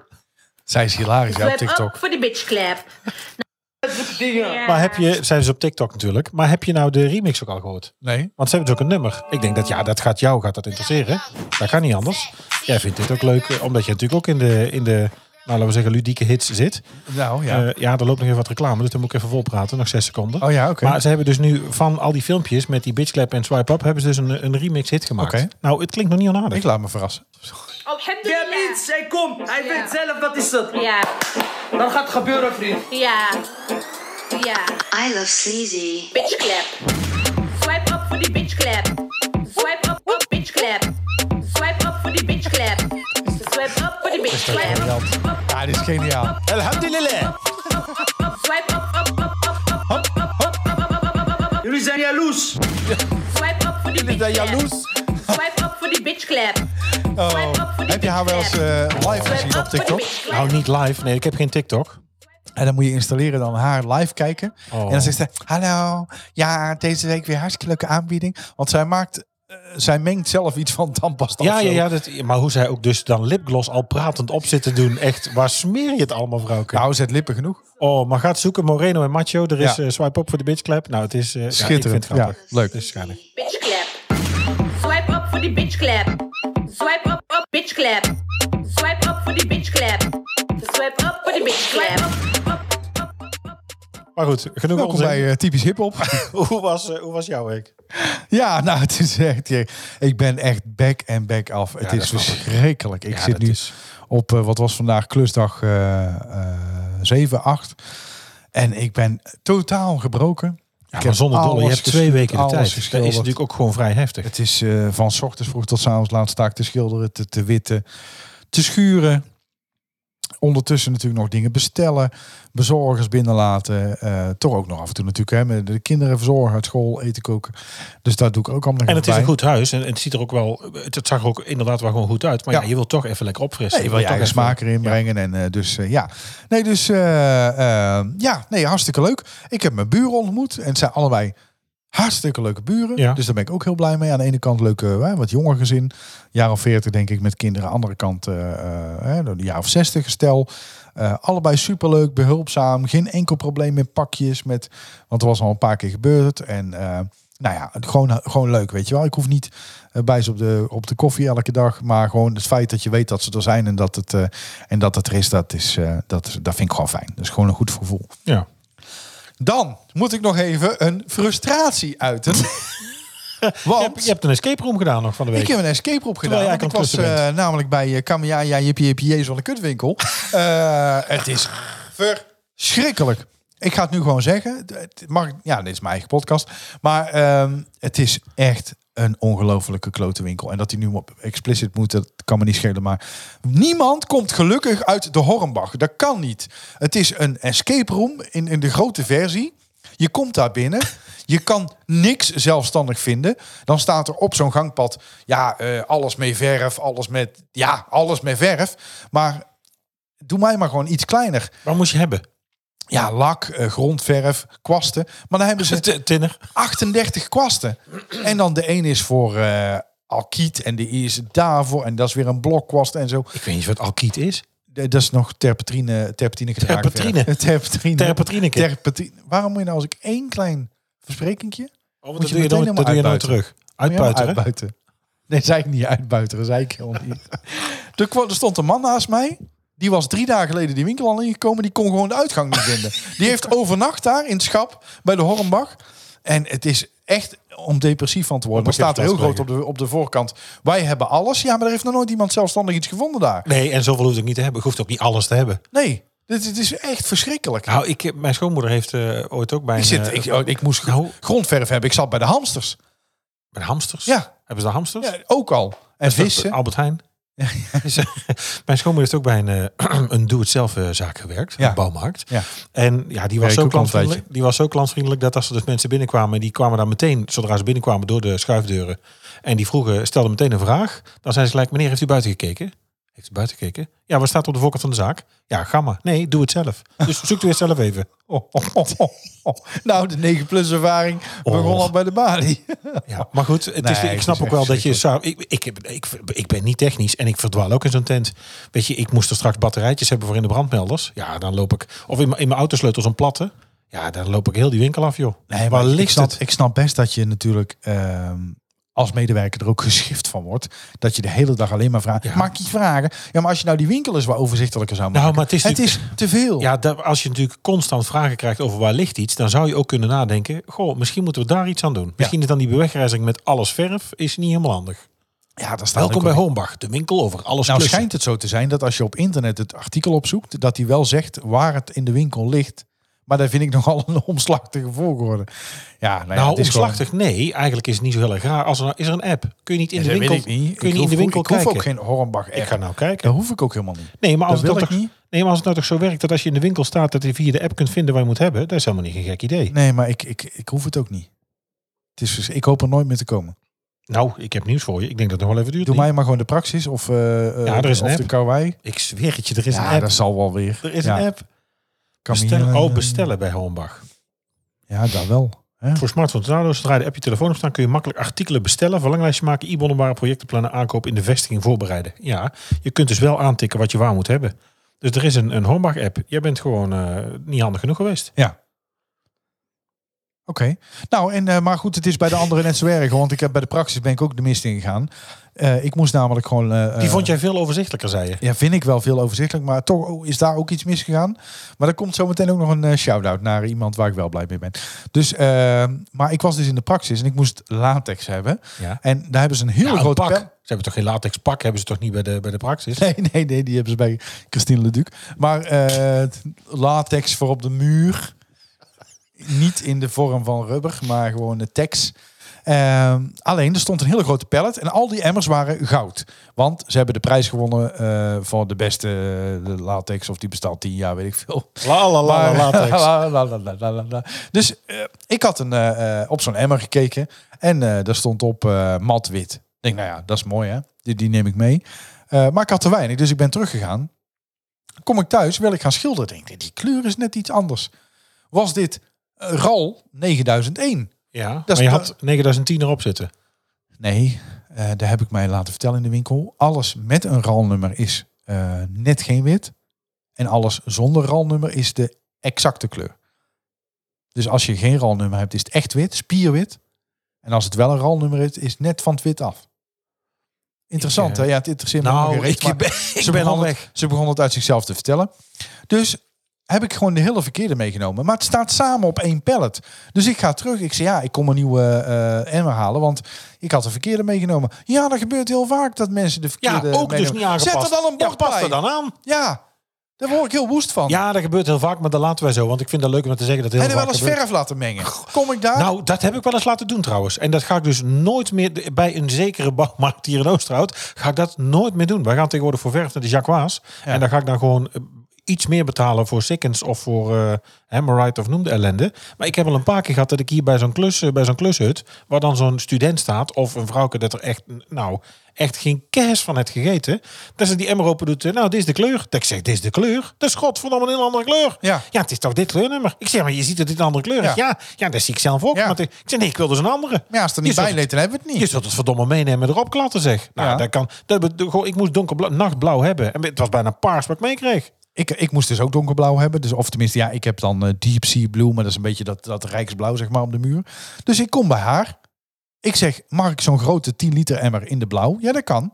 Speaker 3: Zij is hilarisch ja, op
Speaker 5: Swipe
Speaker 3: TikTok.
Speaker 5: up voor die bitch clap.
Speaker 4: Dat soort dingen.
Speaker 5: Ja.
Speaker 2: Maar heb je, zijn ze op TikTok natuurlijk, maar heb je nou de remix ook al gehoord?
Speaker 3: Nee.
Speaker 2: Want ze hebben dus ook een nummer. Ik denk dat ja, dat gaat jou gaat dat interesseren. Dat kan niet anders. Jij vindt dit ook leuk, eh, omdat je natuurlijk ook in de, in de nou, laten we zeggen, ludieke hits zit.
Speaker 3: Nou ja.
Speaker 2: Ja, ja er loopt nog even wat reclame, dus dan moet ik even volpraten. Nog zes seconden.
Speaker 3: oh ja, oké.
Speaker 2: Maar ze hebben dus nu van al die filmpjes met die bitchclap en swipe up... hebben ze dus een, een remix hit gemaakt.
Speaker 3: Oké.
Speaker 2: Nou, het klinkt nog niet onaardig.
Speaker 3: Ik laat me verrassen.
Speaker 4: Ja,
Speaker 5: Alhamdulillah.
Speaker 4: vriend, hij komt. Hij
Speaker 5: Ja.
Speaker 4: weet zelf wat is dat.
Speaker 5: Ja,
Speaker 4: Dan gaat het gebeuren, vriend.
Speaker 5: ja, ja.
Speaker 6: I love sleazy.
Speaker 5: Bitch clap. Swipe up voor die bitch clap. Swipe up voor bitch clap. Swipe up voor die bitch clap. Swipe up voor die bitch clap.
Speaker 3: Ja, dit is geniaal. Alhamdulillah.
Speaker 5: Swipe up, up, up, up, up, up, up, up, up, up, up, up, up, up.
Speaker 4: Jullie zijn jaloers.
Speaker 5: Swipe up voor
Speaker 3: Jullie
Speaker 5: die bitch
Speaker 3: zijn
Speaker 5: clap.
Speaker 3: jaloers.
Speaker 5: Swipe up voor die bitch clap.
Speaker 3: Oh. Heb je haar wel eens eh, live gezien op TikTok?
Speaker 2: Nou, niet live. Nee, ik heb geen TikTok.
Speaker 3: En dan moet je installeren dan haar live kijken.
Speaker 2: Oh.
Speaker 3: En dan zegt ze, hallo, ja, deze week weer hartstikke leuke aanbieding. Want zij maakt, eh, zij mengt zelf iets van tandpasta.
Speaker 2: Ja,
Speaker 3: of
Speaker 2: ja,
Speaker 3: zo.
Speaker 2: ja dat, maar hoe zij ook dus dan lipgloss al pratend op zit te doen. Echt, waar smeer je het allemaal, vrouwke?
Speaker 3: Nou, zet lippen genoeg.
Speaker 2: oh, maar gaat zoeken Moreno en Macho. Er is
Speaker 3: Ja.
Speaker 2: eh, swipe up voor de bitchclap. Nou, het is eh, ja, ik vind het
Speaker 3: Schitterend. Ja,
Speaker 2: grappig.
Speaker 3: leuk.
Speaker 2: Het is schijnig.
Speaker 5: Bitch clap. Swipe up voor die bitch clap. Swipe up, up, bitch clap. Swipe up voor die bitch clap. Swipe up voor die bitch clap.
Speaker 2: Maar goed, genoeg
Speaker 3: Welkom
Speaker 2: onzin.
Speaker 3: bij eh, Typisch Hip-Hop.
Speaker 2: hoe, was, eh, hoe was jouw week?
Speaker 3: ja, nou, het is echt, eh, ik ben echt back en back af. Het
Speaker 2: dat
Speaker 3: is
Speaker 2: snap ik.
Speaker 3: verschrikkelijk. Ik
Speaker 2: Ja,
Speaker 3: zit
Speaker 2: dat
Speaker 3: nu
Speaker 2: is-
Speaker 3: op, eh, wat was vandaag, klusdag eh eh 7, 8. En ik ben totaal gebroken.
Speaker 2: Ja,
Speaker 3: Ik
Speaker 2: maar
Speaker 3: heb
Speaker 2: zonder dolle, je
Speaker 3: alles
Speaker 2: hebt dus twee
Speaker 3: geschilderd,
Speaker 2: weken de
Speaker 3: alles
Speaker 2: tijd. Dat is
Speaker 3: geschilderd.
Speaker 2: natuurlijk ook gewoon vrij heftig.
Speaker 3: Het is eh, van s ochtends vroeg tot s avonds laat sta ik te schilderen, te, te witten, te schuren. Ondertussen natuurlijk nog dingen bestellen, bezorgers binnenlaten. eh, toch ook nog af en toe natuurlijk. Hè, met de kinderen verzorgen, uit school, eten koken. Dus daar doe ik ook allemaal nog
Speaker 2: en het is
Speaker 3: bij.
Speaker 2: een goed huis. En het ziet er ook wel, het, het zag er ook inderdaad wel gewoon goed uit. Maar ja,
Speaker 3: Ja.
Speaker 2: je wilt toch even lekker opfrissen.
Speaker 3: Nee, je wil je
Speaker 2: toch
Speaker 3: eigen
Speaker 2: even-
Speaker 3: smaak erin brengen. En eh, dus eh, ja. Nee, dus eh, eh, ja, nee, hartstikke leuk. Ik heb mijn buren ontmoet. En het zijn allebei hartstikke leuke buren.
Speaker 2: Ja.
Speaker 3: Dus daar ben ik ook heel blij mee. Aan de ene kant leuke, eh, wat jonger gezin. Jaar of veertig denk ik met kinderen. Aan de andere kant eh eh, een jaar of zestig gestel. Eh, allebei superleuk, behulpzaam. Geen enkel probleem met pakjes. Met, want er was al een paar keer gebeurd. En eh, nou ja, gewoon, gewoon leuk, weet je wel. Ik hoef niet eh, bij ze op de, op de koffie elke dag. Maar gewoon het feit dat je weet dat ze er zijn en dat het, eh, en dat het er is, dat, is eh, dat, dat vind ik gewoon fijn. Dat is gewoon een goed gevoel.
Speaker 2: Ja.
Speaker 3: Dan moet ik nog even een frustratie uiten.
Speaker 2: Je,
Speaker 3: Want
Speaker 2: hebt, je hebt een escape room gedaan nog van de week.
Speaker 3: ik heb een escape room gedaan.
Speaker 2: jij
Speaker 3: want ik
Speaker 2: aan het
Speaker 3: was
Speaker 2: klussen
Speaker 3: eh, namelijk bij eh Kamiaya Jippie Jippie Jezus van de Kutwinkel. Eh, het is verschrikkelijk. Ik ga het nu gewoon zeggen. Het Mag, ik- ja, dit is mijn eigen podcast. Maar ehm, het is echt een ongelofelijke klote winkel. En dat hij nu op explicit moet, dat kan me niet schelen. Maar niemand komt gelukkig uit de Hornbach. Dat kan niet. Het is een escape room in, in de grote versie. Je komt daar binnen. Je kan niks zelfstandig vinden. Dan staat er op zo'n gangpad... ja, eh, alles met verf, alles met... ja, alles met verf. Maar doe mij maar gewoon iets kleiner.
Speaker 2: Waar moest je hebben?
Speaker 3: Ja, lak, eh, grondverf, kwasten. Maar dan hebben ze
Speaker 2: T- Tinner.
Speaker 3: 38 kwasten. En dan de een is voor eh alkiet en de is daarvoor. En dat is weer een blokkwast en zo.
Speaker 2: Ik weet niet wat alkiet is.
Speaker 3: Eh, Dat is nog terpentine, terpentine gedragen verf.
Speaker 2: Terpentine.
Speaker 3: Terpentine.
Speaker 2: Terpentineke.
Speaker 3: Terpentine. Waarom moet je nou als ik één klein versprekingje...
Speaker 2: Oh,
Speaker 3: Moet
Speaker 2: dat
Speaker 3: je
Speaker 2: doe je
Speaker 3: meteen
Speaker 2: dan,
Speaker 3: helemaal
Speaker 2: dat doe je dan
Speaker 3: uitbuiten.
Speaker 2: terug.
Speaker 3: Moet je hem
Speaker 2: Uitbuiten. hè?
Speaker 3: uitbuiten. Nee, zei ik niet uitbuiten, dat zei ik helemaal niet. er, kwam, er stond een man naast mij. Die was drie dagen geleden die winkel al ingekomen. Die kon gewoon de uitgang niet vinden. Die heeft overnacht daar in het schap bij de Hornbach. En het is echt om depressief van te worden. Maar
Speaker 2: Om een
Speaker 3: staat er heel
Speaker 2: kerstplaats
Speaker 3: groot op de, op de voorkant. Wij hebben alles. Ja, maar er heeft nog nooit iemand zelfstandig iets gevonden daar.
Speaker 2: Nee, en zoveel hoeft ook niet te hebben. Je hoeft ook niet alles te hebben.
Speaker 3: Nee, dit, dit is echt verschrikkelijk.
Speaker 2: Nou, ik, heb- mijn schoonmoeder heeft eh, ooit ook bij
Speaker 3: Ik,
Speaker 2: een,
Speaker 3: zit,
Speaker 2: eh,
Speaker 3: ik, oh, ik moest gro-
Speaker 2: Nou.
Speaker 3: grondverf hebben. Ik zat bij de hamsters.
Speaker 2: bij de hamsters.
Speaker 3: Ja.
Speaker 2: Hebben ze de hamsters?
Speaker 3: Ja, ook al. En
Speaker 2: Dat is
Speaker 3: vissen.
Speaker 2: Albert Heijn. eh, mijn schoonmoeder heeft ook bij een, eh, een doe-het-zelf eh, zaak gewerkt.
Speaker 3: Ja.
Speaker 2: Een bouwmarkt.
Speaker 3: Ja.
Speaker 2: En ja, die was,
Speaker 3: ik
Speaker 2: zo
Speaker 3: ook al een
Speaker 2: klantvriendelijk, die was zo klantvriendelijk dat als er dus mensen binnenkwamen, die kwamen dan meteen, zodra ze binnenkwamen, door de schuifdeuren. En die vroegen, stelden meteen een vraag. Dan zijn ze gelijk, meneer, heeft u buiten gekeken? Heeft u buiten gekeken? Ja, wat staat op de voorkant van de zaak? Ja, gamma. Nee, doe het zelf. Dus zoek het weer zelf even.
Speaker 3: Oh, oh, oh, oh, oh. Nou, de 9 plus ervaring begon
Speaker 2: Oh.
Speaker 3: al bij de balie.
Speaker 2: Ja, maar goed, het is,
Speaker 3: Nee,
Speaker 2: ik
Speaker 3: het
Speaker 2: snap
Speaker 3: is
Speaker 2: ook
Speaker 3: echt
Speaker 2: wel dat je... zou- Ik, ik, heb- ik, ik ben niet technisch en ik verdwaal ook in zo'n tent. Weet je, ik moest er straks batterijtjes hebben voor in de brandmelders. Ja, dan loop ik... Of in mijn in mijn autosleutels een platte. Ja, dan loop ik heel die winkel af, joh.
Speaker 3: Nee, maar
Speaker 2: Waar
Speaker 3: ik
Speaker 2: ligt
Speaker 3: snap,
Speaker 2: het?
Speaker 3: Ik snap best dat je natuurlijk ehm, als medewerker er ook geschift van wordt. Dat je de hele dag alleen maar vraagt. Maak Mag ik je vragen? Ja, maar als je nou die winkel eens wat overzichtelijker zou maken.
Speaker 2: Nou, maar het is natuurlijk-
Speaker 3: is te veel.
Speaker 2: Ja, da- als je natuurlijk constant vragen krijgt over waar ligt iets, dan zou je ook kunnen nadenken: goh, misschien moeten we daar iets aan doen. Misschien is dan die bewegreizing met alles verf is niet helemaal handig.
Speaker 3: ja daar staat
Speaker 2: Welkom
Speaker 3: ook
Speaker 2: bij
Speaker 3: wel-
Speaker 2: Hornbach, de winkel over alles.
Speaker 3: Nou
Speaker 2: klussen.
Speaker 3: schijnt het zo te zijn dat als je op internet het artikel opzoekt, dat hij wel zegt waar het in de winkel ligt. Maar daar vind ik nogal een omslachtige volgorde. Ja, nou, ja,
Speaker 2: Nou,
Speaker 3: het is gewoon-
Speaker 2: omslachtig, nee. Eigenlijk is het niet zo heel erg raar. Als er, nou- is er een app? Kun je niet in
Speaker 3: Ja,
Speaker 2: de
Speaker 3: dat
Speaker 2: winkel,
Speaker 3: weet ik niet.
Speaker 2: Kun je
Speaker 3: Ik
Speaker 2: niet in de
Speaker 3: hoef-
Speaker 2: winkel
Speaker 3: ik
Speaker 2: kijken?
Speaker 3: hoef ook geen Hornbach app.
Speaker 2: ik ga nou kijken.
Speaker 3: Dat hoef ik ook helemaal niet.
Speaker 2: Nee maar, als
Speaker 3: Dat
Speaker 2: het
Speaker 3: wil
Speaker 2: dan
Speaker 3: ik
Speaker 2: toch,
Speaker 3: niet.
Speaker 2: nee, maar als het nou toch zo werkt dat als je in de winkel staat dat je via de app kunt vinden waar je moet hebben, dat is helemaal niet een gek idee.
Speaker 3: Nee, maar ik, ik, ik hoef het ook niet. Het is, dus- ik hoop er nooit meer te komen.
Speaker 2: Nou, ik heb nieuws voor je. Ik denk dat het nog wel even duurt.
Speaker 3: Doe
Speaker 2: Lien.
Speaker 3: mij maar gewoon de praxis of, eh, eh,
Speaker 2: Ja, er is een
Speaker 3: of
Speaker 2: app.
Speaker 3: de Kauai.
Speaker 2: Ik zweer het je, er is
Speaker 3: Ja,
Speaker 2: een app.
Speaker 3: dat zal wel weer.
Speaker 2: Er is
Speaker 3: Ja,
Speaker 2: een app.
Speaker 3: kan
Speaker 2: Bestel-
Speaker 3: hier, eh,
Speaker 2: oh, bestellen bij Hornbach.
Speaker 3: Ja, daar wel. Ja.
Speaker 2: Voor smartphones en downloads, zodra je de app je telefoon op staan, kun je makkelijk artikelen bestellen, verlanglijstje maken, e-bonnenbare projecten plannen, aankoop in de vestiging voorbereiden. Ja, je kunt dus wel aantikken wat je waar moet hebben. Dus er is een, een Hornbach-app. Jij bent gewoon eh, niet handig genoeg geweest.
Speaker 3: Ja. Oké. Nou, en, eh, maar goed, het is bij de andere net zo erg. hoor, Want ik heb bij de praxis ben ik ook de mist ingegaan. Eh ik moest namelijk gewoon... eh,
Speaker 2: Die
Speaker 3: eh,
Speaker 2: vond jij veel overzichtelijker, zei je.
Speaker 3: Ja, vind ik wel veel overzichtelijk. Maar toch oh, is daar ook iets misgegaan. Maar er komt zometeen ook nog een eh, shout-out naar iemand waar ik wel blij mee ben. Dus, eh, maar ik was dus in de praxis en ik moest latex hebben.
Speaker 2: Ja.
Speaker 3: En daar hebben ze een heel
Speaker 2: Ja, een
Speaker 3: groot
Speaker 2: pak.
Speaker 3: pak.
Speaker 2: Ze hebben toch geen latex pak? Hebben ze toch niet bij de, bij de praxis?
Speaker 3: Nee, nee, nee, die hebben ze bij Christine Leduc. Maar eh, latex voor op de muur. Niet in de vorm van rubber, maar gewoon de tekst. Ehm, alleen, er stond een hele grote pallet en al die emmers waren goud. Want ze hebben de prijs gewonnen eh, voor de beste eh, latex of die bestaat 10 jaar, weet ik veel.
Speaker 2: La la la la
Speaker 3: Maar-
Speaker 2: latex.
Speaker 3: La, la, la, la, la, la, la. Dus eh, ik had een, eh, eh, op zo'n emmer gekeken en eh, daar stond op eh, mat wit. Ik denk, nou ja, dat is mooi hè, die, die neem ik mee. Eh, maar ik had te weinig, dus ik ben teruggegaan. Kom ik thuis, wil ik gaan schilderen. Denk, ik, die kleur is net iets anders. Was dit eh, RAL 9001?
Speaker 2: Ja,
Speaker 3: is
Speaker 2: maar je
Speaker 3: de-
Speaker 2: had 9010 erop zitten.
Speaker 3: Nee, eh daar heb ik mij laten vertellen in de winkel. Alles met een RAL-nummer is eh, net geen wit. En alles zonder RAL-nummer is de exacte kleur. Dus als je geen RAL-nummer hebt, is het echt wit, spierwit. En als het wel een RAL-nummer is, is het net van het wit af. Interessant,
Speaker 2: Ik, eh,
Speaker 3: hè? Ja, het interesseert me
Speaker 2: Nou,
Speaker 3: helemaal geen reet,
Speaker 2: ik ben, ik ben al
Speaker 3: begon
Speaker 2: weg.
Speaker 3: Het, ze begon het uit zichzelf te vertellen. Dus heb ik gewoon de hele verkeerde meegenomen. Maar het staat samen op één pallet. Dus ik ga terug. Ik zei, ja, ik kom een nieuwe eh emmer halen. Want ik had de verkeerde meegenomen. Ja, dat gebeurt heel vaak dat mensen de
Speaker 2: Ja,
Speaker 3: verkeerde
Speaker 2: ook dus
Speaker 3: meegenomen.
Speaker 2: niet aangepast.
Speaker 3: Zet er dan een
Speaker 2: Ja,
Speaker 3: bord
Speaker 2: past
Speaker 3: bij.
Speaker 2: er dan aan.
Speaker 3: Ja, daar word ik heel woest van.
Speaker 2: Ja, dat gebeurt heel vaak, maar dat laten wij zo. Want ik vind dat leuk om te zeggen dat heel
Speaker 3: en er
Speaker 2: vaak
Speaker 3: wel eens
Speaker 2: gebeurt.
Speaker 3: verf laten mengen. Kom ik daar?
Speaker 2: Nou, dat heb ik wel eens laten doen trouwens. En dat ga ik dus nooit meer de- bij een zekere bouwmarkt hier in Oosterhout. Ga ik dat nooit meer doen. Wij gaan tegenwoordig voor verf naar de Jacquois. En dan ga ik dan gewoon eh, iets meer betalen voor Sikkens of voor eh Hammerite of noem de ellende. Maar ik heb al een paar keer gehad dat ik hier bij zo'n klus, eh, bij zo'n klushut, waar dan zo'n student staat of een vrouwke dat er echt, nou, echt geen kers van het gegeten. Dat ze die emmer open doet. eh, Nou, dit is de kleur. Dat ik zeg, dit is de kleur. Dat is godverdomme een heel andere kleur.
Speaker 3: Ja.
Speaker 2: ja, het is toch dit kleurnummer. Ik zeg, maar je ziet dat dit een andere kleur is.
Speaker 3: Ja.
Speaker 2: Ja, ja, dat zie ik zelf ook.
Speaker 3: Ja.
Speaker 2: Maar te- ik zeg, nee, ik wil dus een andere.
Speaker 3: ja, als het er
Speaker 2: je
Speaker 3: niet bij
Speaker 2: zult-
Speaker 3: leed, dan hebben we het
Speaker 2: Je
Speaker 3: niet.
Speaker 2: zult het verdomme meenemen en erop klatten, zeg. Nou,
Speaker 3: Ja.
Speaker 2: dat kan. Dat, be- de- gewoon, ik moest donkerblauw, nachtblauw hebben. En het was bijna paars wat ik meekreeg.
Speaker 3: Ik, ik moest dus ook donkerblauw hebben. Dus, of tenminste, ja, ik heb dan eh, deep sea blue. Maar dat is een beetje dat, dat rijksblauw, zeg maar, op de muur. Dus ik kom bij haar. Ik zeg, mag ik zo'n grote 10 liter emmer in de blauw? Ja, dat kan.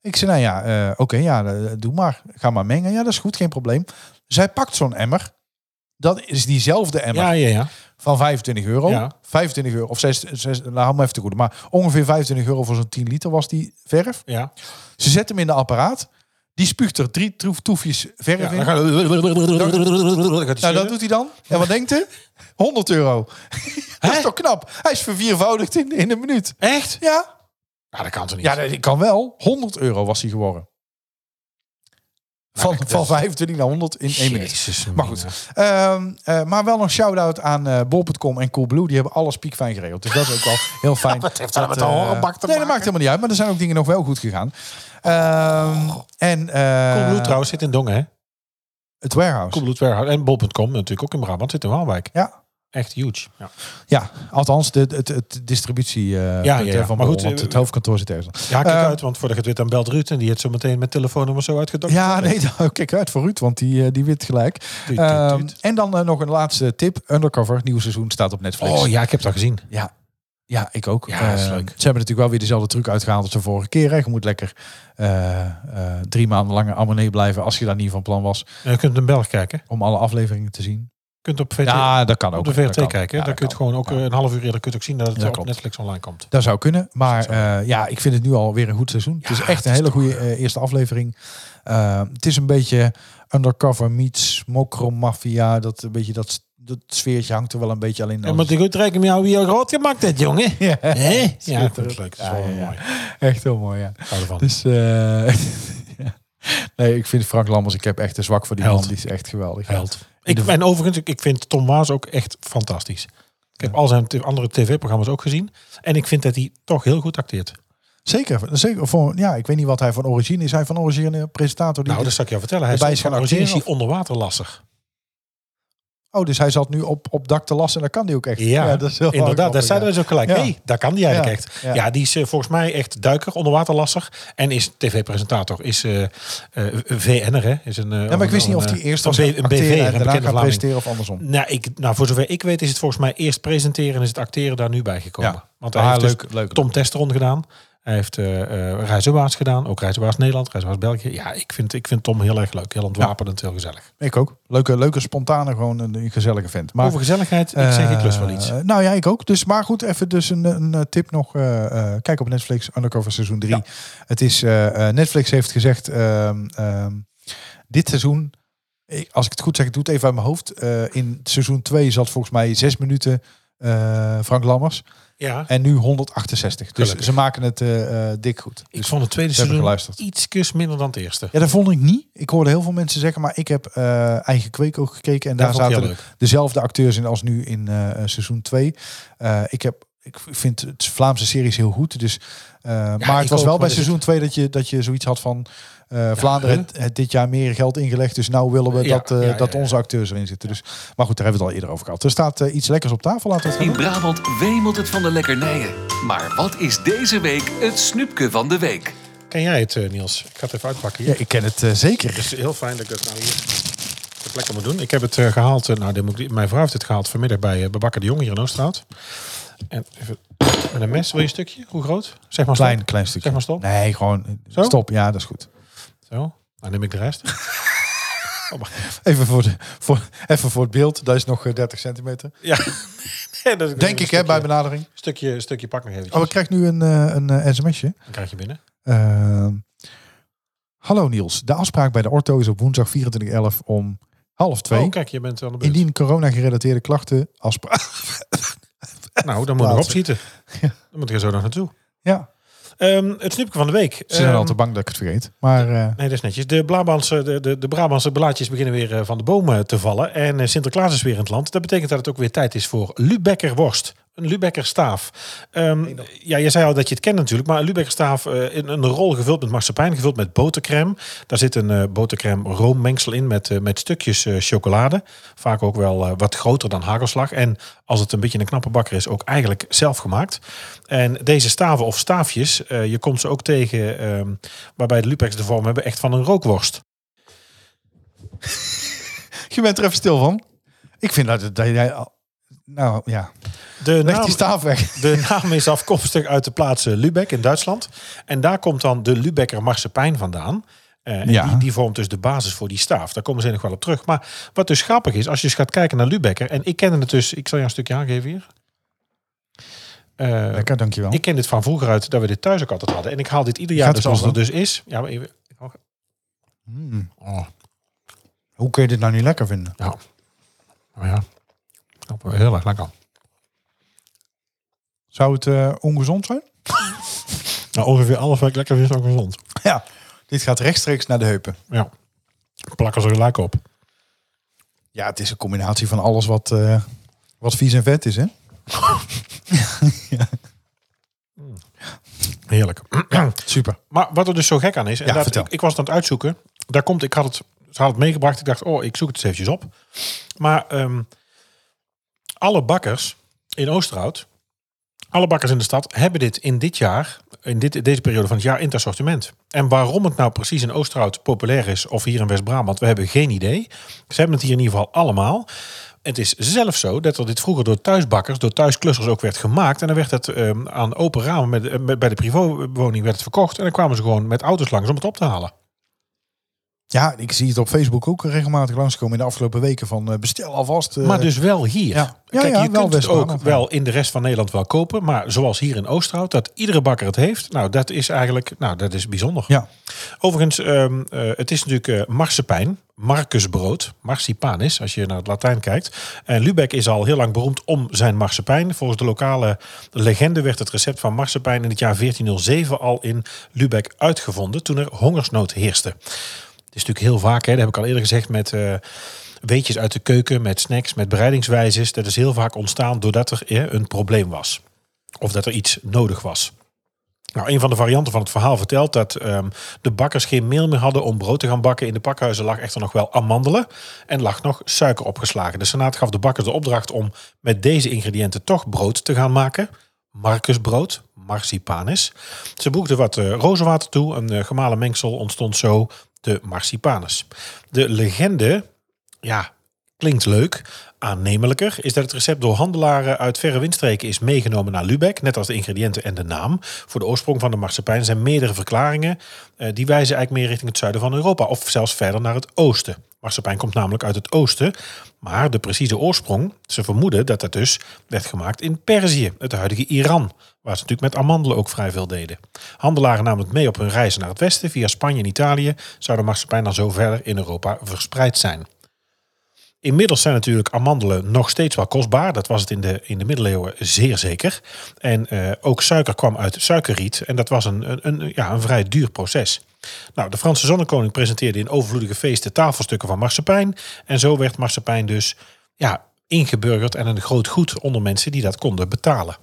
Speaker 3: Ik zei, nou ja, eh, oké, ja, eh, doe maar. Ga maar mengen. Ja, dat is goed, geen probleem. Zij pakt zo'n emmer. Dat is diezelfde emmer
Speaker 2: Ja, ja, ja.
Speaker 3: van 25 euro.
Speaker 2: Ja.
Speaker 3: 25 euro, of 6, 6 nou, hou me even te goede. Maar ongeveer 25 euro voor zo'n 10 liter was die verf.
Speaker 2: ja.
Speaker 3: Ze zet hem in de apparaat. Die spuugt er drie troef- toefjes verf
Speaker 2: ja
Speaker 3: in.
Speaker 2: dan gaat- dan gaat hij
Speaker 3: Nou, dat
Speaker 2: schudden.
Speaker 3: doet hij dan. En wat denkt u? 100 euro. dat is toch knap? Hij is verviervoudigd in, in een minuut.
Speaker 2: Echt?
Speaker 3: Ja?
Speaker 2: Ja, dat kan toch niet?
Speaker 3: Ja, dat kan wel. 100 euro was hij geworden. Van, van 25 naar 100 in één minuut.
Speaker 2: Jezus,
Speaker 3: Maar goed. Ehm, eh, maar wel een shout-out aan eh, bol.com en Coolblue. Die hebben alles piekfijn geregeld. Dus dat is ook wel heel fijn.
Speaker 2: Wat heeft dat met de
Speaker 3: eh,
Speaker 2: horenbak te
Speaker 3: Nee, dat
Speaker 2: maken?
Speaker 3: maakt helemaal niet uit. Maar er zijn ook dingen nog wel goed gegaan. Ehm, en eh,
Speaker 2: Koelbloed Oh. trouwens zit in Dongen, hè?
Speaker 3: het warehouse.
Speaker 2: Koelbloed Warehouse. En bol.com natuurlijk ook in Brabant. Zit in Waalwijk.
Speaker 3: Ja.
Speaker 2: Echt huge. Ja,
Speaker 3: Ja, althans de, het, het distributie eh,
Speaker 2: ja,
Speaker 3: punt,
Speaker 2: ja.
Speaker 3: hè, van
Speaker 2: Maar
Speaker 3: maar
Speaker 2: goed,
Speaker 3: want
Speaker 2: eh,
Speaker 3: het hoofdkantoor zit ergens.
Speaker 2: ja kijk
Speaker 3: Eh,
Speaker 2: uit, want voordat je het weet, dan belt Ruud. En die heeft zo meteen met telefoonnummer zo uitgedokt.
Speaker 3: Ja, nee, dan- kijk uit voor Ruud, want die, eh, die wint gelijk.
Speaker 2: Tuut, tuut,
Speaker 3: Ehm,
Speaker 2: tuut.
Speaker 3: en dan eh, nog een laatste tip. Undercover, nieuw seizoen staat op Netflix.
Speaker 2: Oh ja, ik heb dat gezien.
Speaker 3: Ja, Ja, ik ook.
Speaker 2: Oh, Ja, dat is
Speaker 3: Eh,
Speaker 2: leuk.
Speaker 3: Ze hebben natuurlijk wel weer dezelfde truc uitgehaald als de vorige keer. Hè. Je moet lekker eh, eh, drie maanden lang abonnee blijven als je daar niet van plan was
Speaker 2: En Eh, je kunt een Belg kijken. Je
Speaker 3: om alle afleveringen te zien.
Speaker 2: kunt op VT,
Speaker 3: Ja, dat kan ook.
Speaker 2: op de
Speaker 3: Dat
Speaker 2: VRT
Speaker 3: kan.
Speaker 2: kijken.
Speaker 3: Ja,
Speaker 2: Daar kun
Speaker 3: dat
Speaker 2: je het
Speaker 3: kan.
Speaker 2: gewoon ook
Speaker 3: Ja.
Speaker 2: eh, een half uur eerder kun je het ook zien dat het
Speaker 3: Ja,
Speaker 2: op
Speaker 3: klopt.
Speaker 2: Netflix online komt.
Speaker 3: Dat zou kunnen. Maar eh, ja, ik vind het nu alweer een goed seizoen. het is echt een hele goede eh, eerste aflevering. Eh, het is een beetje undercover meets mokromafia. Dat, een beetje dat, dat sfeertje hangt er wel een beetje alleen.
Speaker 2: En moet ik goed rekenen met jou wie je groot gemaakt hebt, jongen.
Speaker 3: dus- Ja,
Speaker 2: Hé? Ja,
Speaker 3: Schitterend.
Speaker 2: dat is leuk. Dat is
Speaker 3: Ja,
Speaker 2: wel
Speaker 3: ja, ja.
Speaker 2: mooi.
Speaker 3: echt heel mooi, ja.
Speaker 2: Ik hou ervan.
Speaker 3: Dus eh, ja. nee, ik vind Frank Lammers, ik heb echt een zwak voor die
Speaker 2: Held.
Speaker 3: man. Die is echt geweldig.
Speaker 2: Held. Ik, en overigens, ik- ik vind Tom Waas ook echt fantastisch. Ik heb al zijn t- andere tv-programma's ook gezien. En ik vind dat hij toch heel goed acteert.
Speaker 3: Zeker, zeker voor, ja, ik weet niet wat hij van origine is. Hij van origine een presentator. Die
Speaker 2: Nou, dat zal ik je vertellen. Hij
Speaker 3: Erbij
Speaker 2: is
Speaker 3: is
Speaker 2: van
Speaker 3: gaan
Speaker 2: origine is hij
Speaker 3: acteren,
Speaker 2: onderwaterlasser.
Speaker 3: Oh, dus hij zat nu op, op dak te lassen en dat kan hij ook echt.
Speaker 2: Ja,
Speaker 3: dat is heel
Speaker 2: Inderdaad, daar zijn
Speaker 3: grappig,
Speaker 2: we dus ook gelijk.
Speaker 3: Ja.
Speaker 2: Hé, hey, daar kan die eigenlijk
Speaker 3: Ja,
Speaker 2: echt. Ja.
Speaker 3: ja.
Speaker 2: die is eh, volgens mij echt duiker, onderwaterlasser. En is tv-presentator. Is eh eh, VN'er, hè. Is een, eh,
Speaker 3: ja, maar ik wist
Speaker 2: een-
Speaker 3: niet of
Speaker 2: een,
Speaker 3: die eerst
Speaker 2: een
Speaker 3: was
Speaker 2: B-
Speaker 3: acteren
Speaker 2: een BV,
Speaker 3: en
Speaker 2: een
Speaker 3: daarna
Speaker 2: bekende
Speaker 3: gaat
Speaker 2: Vlaming.
Speaker 3: presenteren of andersom.
Speaker 2: Nou, ik, nou, voor zover ik weet is het volgens mij eerst presenteren en is het acteren daar nu bij gekomen.
Speaker 3: Ja.
Speaker 2: Want hij
Speaker 3: Ah,
Speaker 2: heeft
Speaker 3: leuk,
Speaker 2: dus
Speaker 3: leuk.
Speaker 2: Tom Testeron gedaan. Hij heeft eh eh, Reizenwaarts gedaan. Ook Reizenwaarts Nederland, Reizenwaarts België. Ja, ik vind, ik vind Tom heel erg leuk. Heel ontwapenend, heel gezellig.
Speaker 3: Ik ook. Leuke, leuke spontane, gewoon een, een gezellige vent. Maar,
Speaker 2: Over gezelligheid, ik zeg, ik lust wel
Speaker 3: eh,
Speaker 2: iets.
Speaker 3: nou ja, ik ook. Dus, maar goed, even dus een, een eh, tip nog. eh, eh, kijk op Netflix, Undercover seizoen 3. Het is, eh, eh, Netflix heeft gezegd, ehm, ehm, dit seizoen, ik- als ik het goed zeg, ik doe het even uit mijn hoofd. eh, in seizoen 2 zat volgens mij zes minuten eh, Frank Lammers.
Speaker 2: Ja,
Speaker 3: En nu 168. Dus
Speaker 2: Gelukkig.
Speaker 3: ze maken het eh, eh, dik goed.
Speaker 2: ik vond het tweede
Speaker 3: ze Dus hebben
Speaker 2: seizoen
Speaker 3: geluisterd.
Speaker 2: ietsjes minder dan het eerste.
Speaker 3: Ja, dat vond ik niet. Ik hoorde heel veel mensen zeggen, maar ik heb eh, Eigen Kweek ook gekeken. En
Speaker 2: Dat
Speaker 3: daar
Speaker 2: vond ik
Speaker 3: zaten
Speaker 2: heel
Speaker 3: de- dezelfde acteurs in als nu in eh, eh, seizoen 2. ik, heb, ik vind het Vlaamse series heel goed. Dus, eh, maar
Speaker 2: ik
Speaker 3: het was
Speaker 2: ook,
Speaker 3: wel
Speaker 2: want
Speaker 3: bij
Speaker 2: er
Speaker 3: seizoen 2 dat je, dat je zoiets had van... eh, Vlaanderen
Speaker 2: hè?
Speaker 3: heeft heeft dit jaar meer geld ingelegd. Dus nou willen we
Speaker 2: Ja,
Speaker 3: dat, eh,
Speaker 2: ja, ja,
Speaker 3: dat
Speaker 2: ja.
Speaker 3: onze acteurs erin zitten. Dus, maar goed, daar hebben we het al eerder over gehad. Er staat eh, iets lekkers op tafel. Laten we het gaan
Speaker 1: In
Speaker 3: doen.
Speaker 1: Brabant wemelt het van de lekkernijen. Maar wat is deze week het snoepje van de week?
Speaker 2: Ken jij het, eh, Niels? Ik ga het even uitpakken hier.
Speaker 3: Ja, ik ken het eh, zeker.
Speaker 2: Het is heel fijn dat ik dat nou hier ter plekke moet doen. Ik heb het eh, gehaald, eh, nou, dit moet ik- mijn vrouw heeft het gehaald vanmiddag bij eh, bij Bakker de Jong hier in Oosterhout. En even met een mes, wil je een stukje? Hoe groot? Zeg maar
Speaker 3: Klein,
Speaker 2: stop.
Speaker 3: klein stukje.
Speaker 2: Zeg maar stop.
Speaker 3: Nee, gewoon eh,
Speaker 2: Zo?
Speaker 3: stop. Ja, dat is goed.
Speaker 2: Zo, Nou, dan neem ik de rest. Oh, maar-
Speaker 3: Even voor, de, voor, even voor het beeld, daar is nog eh, 30 centimeter.
Speaker 2: ja. Nee, dat is-
Speaker 3: Denk
Speaker 2: een
Speaker 3: ik, hè, bij
Speaker 2: stukje-
Speaker 3: benadering.
Speaker 2: Stukje, stukje pak nog eventjes.
Speaker 3: Oh, ik krijg nu een, eh, een eh, sms'je.
Speaker 2: Dan krijg je binnen.
Speaker 3: Ehm, Hallo Niels, de afspraak bij de ortho is op woensdag 24.11 om half twee.
Speaker 2: Oh, kijk, je bent aan de beurt.
Speaker 3: Indien corona-gerelateerde klachten afspraak.
Speaker 2: Nou, dan moet je nog
Speaker 3: plaatsen.
Speaker 2: opschieten.
Speaker 3: Ja.
Speaker 2: Dan moet ik er zo nog naartoe.
Speaker 3: Ja,
Speaker 2: Ehm, het snoepje van de week.
Speaker 3: ze zijn
Speaker 2: Ehm,
Speaker 3: al te bang dat ik het vergeet. Maar eh,
Speaker 2: Nee, dat is netjes. De Brabantse, de, de, de Brabantse blaadjes beginnen weer eh, van de bomen te vallen. En eh, Sinterklaas is weer in het land. Dat betekent dat het ook weer tijd is voor Lubecker worst. Een Lubecker staaf. Ehm, ja, je zei al dat je het kent natuurlijk. Maar een Lubecker staaf eh, in een rol gevuld met marsepein, gevuld met botercrème. Daar zit een eh botercrème roommengsel in met, eh, met stukjes eh, chocolade. Vaak ook wel eh, wat groter dan hagelslag. En als het een beetje een knappe bakker is, ook eigenlijk zelf gemaakt. En deze staven of staafjes, eh, je komt ze ook tegen ehm, waarbij de Lupex de vorm hebben echt van een rookworst.
Speaker 3: je bent er even stil van. Ik vind dat, dat jij... al- Nou ja,
Speaker 2: De
Speaker 3: leg
Speaker 2: naam,
Speaker 3: die staaf weg.
Speaker 2: de naam is afkomstig uit de plaats eh, Lübeck in Duitsland. En daar komt dan de Lübecker marsepein vandaan. Eh, en
Speaker 3: Ja.
Speaker 2: die, die vormt dus de basis voor die staaf. Daar komen ze nog wel op terug. Maar wat dus grappig is, als je eens gaat kijken naar Lübecker... en ik kende het dus... Ik zal jou een stukje aangeven hier. Eh,
Speaker 3: Lekker, dankjewel.
Speaker 2: Ik ken dit van vroeger uit dat we dit thuis ook altijd hadden. En ik haal dit ieder jaar
Speaker 3: Gaat
Speaker 2: dus
Speaker 3: het
Speaker 2: als het er
Speaker 3: over?
Speaker 2: dus is. Ja, maar even,
Speaker 3: Mm.
Speaker 2: oh,
Speaker 3: Hoe kun je dit nou niet lekker vinden?
Speaker 2: ja. Oh ja. Oh, Heel erg lekker.
Speaker 3: Zou het eh, ongezond zijn?
Speaker 2: Nou, ongeveer alles wat ik lekker vind is ook gezond.
Speaker 3: Ja, dit gaat rechtstreeks naar de heupen.
Speaker 2: Ja. Plakken ze gelijk op.
Speaker 3: Ja, het is een combinatie van alles wat, eh, wat vies en vet is, hè?
Speaker 2: Heerlijk.
Speaker 3: Super.
Speaker 2: maar wat er dus zo gek aan is, en
Speaker 3: Ja,
Speaker 2: dat,
Speaker 3: vertel.
Speaker 2: ik, ik was het aan het uitzoeken. Daar komt, ik had het, ze had het meegebracht. Ik dacht, oh, ik zoek het eens eventjes op. Maar ehm, alle bakkers in Oosterhout, alle bakkers in de stad, hebben dit in dit jaar, in dit, deze periode van het jaar, in het assortiment. En waarom het nou precies in Oosterhout populair is, of hier in West-Brabant, we hebben geen idee. Ze hebben het hier in ieder geval allemaal. Het is zelfs zo dat er dit vroeger door thuisbakkers, door thuisklussers ook werd gemaakt. En dan werd het ehm, aan open ramen met, eh, met- bij de privéwoning werd het verkocht. En dan kwamen ze gewoon met auto's langs om het op te halen.
Speaker 3: Ja, ik zie het op Facebook ook regelmatig langskomen in de afgelopen weken van eh, bestel alvast. eh,
Speaker 2: maar dus wel hier.
Speaker 3: ja. Ja,
Speaker 2: Kijk,
Speaker 3: ja,
Speaker 2: je
Speaker 3: wel
Speaker 2: kunt het ook
Speaker 3: West-Brabant, ja.
Speaker 2: wel in de rest van Nederland wel kopen. Maar zoals hier in Oosterhout, dat iedere bakker het heeft. Nou, dat is eigenlijk nou, dat is bijzonder.
Speaker 3: Ja,
Speaker 2: Overigens, ehm, eh, het is natuurlijk eh marsepein, marcusbrood, marsipanis, als je naar het Latijn kijkt. En Lübeck is al heel lang beroemd om zijn marsepein. Volgens de lokale legende werd het recept van marsepein in het jaar 1407 al in Lübeck uitgevonden, toen er hongersnood heerste. Het is natuurlijk heel vaak, hè, dat heb ik al eerder gezegd, met eh, weetjes uit de keuken, met snacks, met bereidingswijzes. Dat is heel vaak ontstaan doordat er eh, een probleem was. Of dat er iets nodig was. Nou, een van de varianten van het verhaal vertelt dat ehm, de bakkers geen meel meer hadden om brood te gaan bakken. In de pakhuizen lag echter nog wel amandelen en lag nog suiker opgeslagen. De Senaat gaf de bakkers de opdracht om met deze ingrediënten toch brood te gaan maken. Marcusbrood, marsipanis. Ze voegden wat eh, rozenwater toe. Een eh, gemalen mengsel ontstond zo de marsipanis. De legende, ja, Klinkt leuk. Aannemelijker is dat het recept door handelaren uit verre windstreken is meegenomen naar Lübeck, net als de ingrediënten en de naam. Voor de oorsprong van de marsepein zijn meerdere verklaringen. eh, die wijzen eigenlijk meer richting het zuiden van Europa of zelfs verder naar het oosten. Marsepein komt namelijk uit het oosten, maar de precieze oorsprong, ze vermoeden dat dat dus werd gemaakt in Perzië, het huidige Iran, waar ze natuurlijk met amandelen ook vrij veel deden. Handelaren namen het mee op hun reizen naar het westen via Spanje en Italië, zou de marsepein dan zo verder in Europa verspreid zijn. Inmiddels zijn natuurlijk amandelen nog steeds wel kostbaar. Dat was het in de, in de middeleeuwen zeer zeker. En eh, ook suiker kwam uit suikerriet. En dat was een, een, een- ja, een vrij duur proces. Nou, de Franse zonnekoning presenteerde in overvloedige feesten tafelstukken van marsepein. En zo werd marsepein dus ja, ingeburgerd en een groot goed onder mensen die dat konden betalen.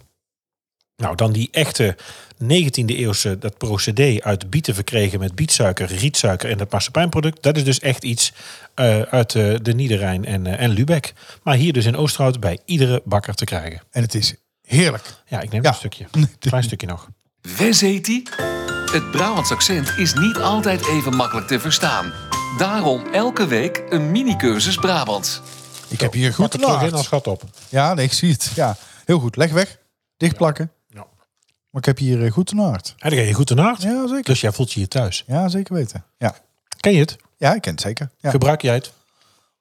Speaker 2: Nou, dan die echte 19e eeuwse, dat procedé uit bieten verkregen met bietsuiker, rietsuiker en dat marsepijnproduct. Dat is dus echt iets eh, uit eh, de Niederrijn en, eh, en Lübeck. Maar hier dus in Oosterhout bij iedere bakker te krijgen.
Speaker 3: en het is heerlijk.
Speaker 2: Ja, ik neem
Speaker 3: Ja.
Speaker 2: een stukje. Een klein stukje nog.
Speaker 1: Wes heet die? Het Brabants accent is niet altijd even makkelijk te verstaan. Daarom elke week een mini-cursus Brabants.
Speaker 3: Ik heb hier
Speaker 2: Pak
Speaker 3: goed
Speaker 2: het terug in
Speaker 3: naard.
Speaker 2: als gat op.
Speaker 3: Ja, nee, ik zie het. Ja, heel goed. Leg weg. Dichtplakken.
Speaker 2: Ja.
Speaker 3: Maar ik heb hier eh, goed naard.
Speaker 2: En dan ga je goed ernaar.
Speaker 3: Ja, zeker.
Speaker 2: Dus jij voelt je hier thuis.
Speaker 3: Ja, zeker weten. Ja,
Speaker 2: Ken je het?
Speaker 3: ja ik ken het zeker. Ja.
Speaker 2: Gebruik jij het?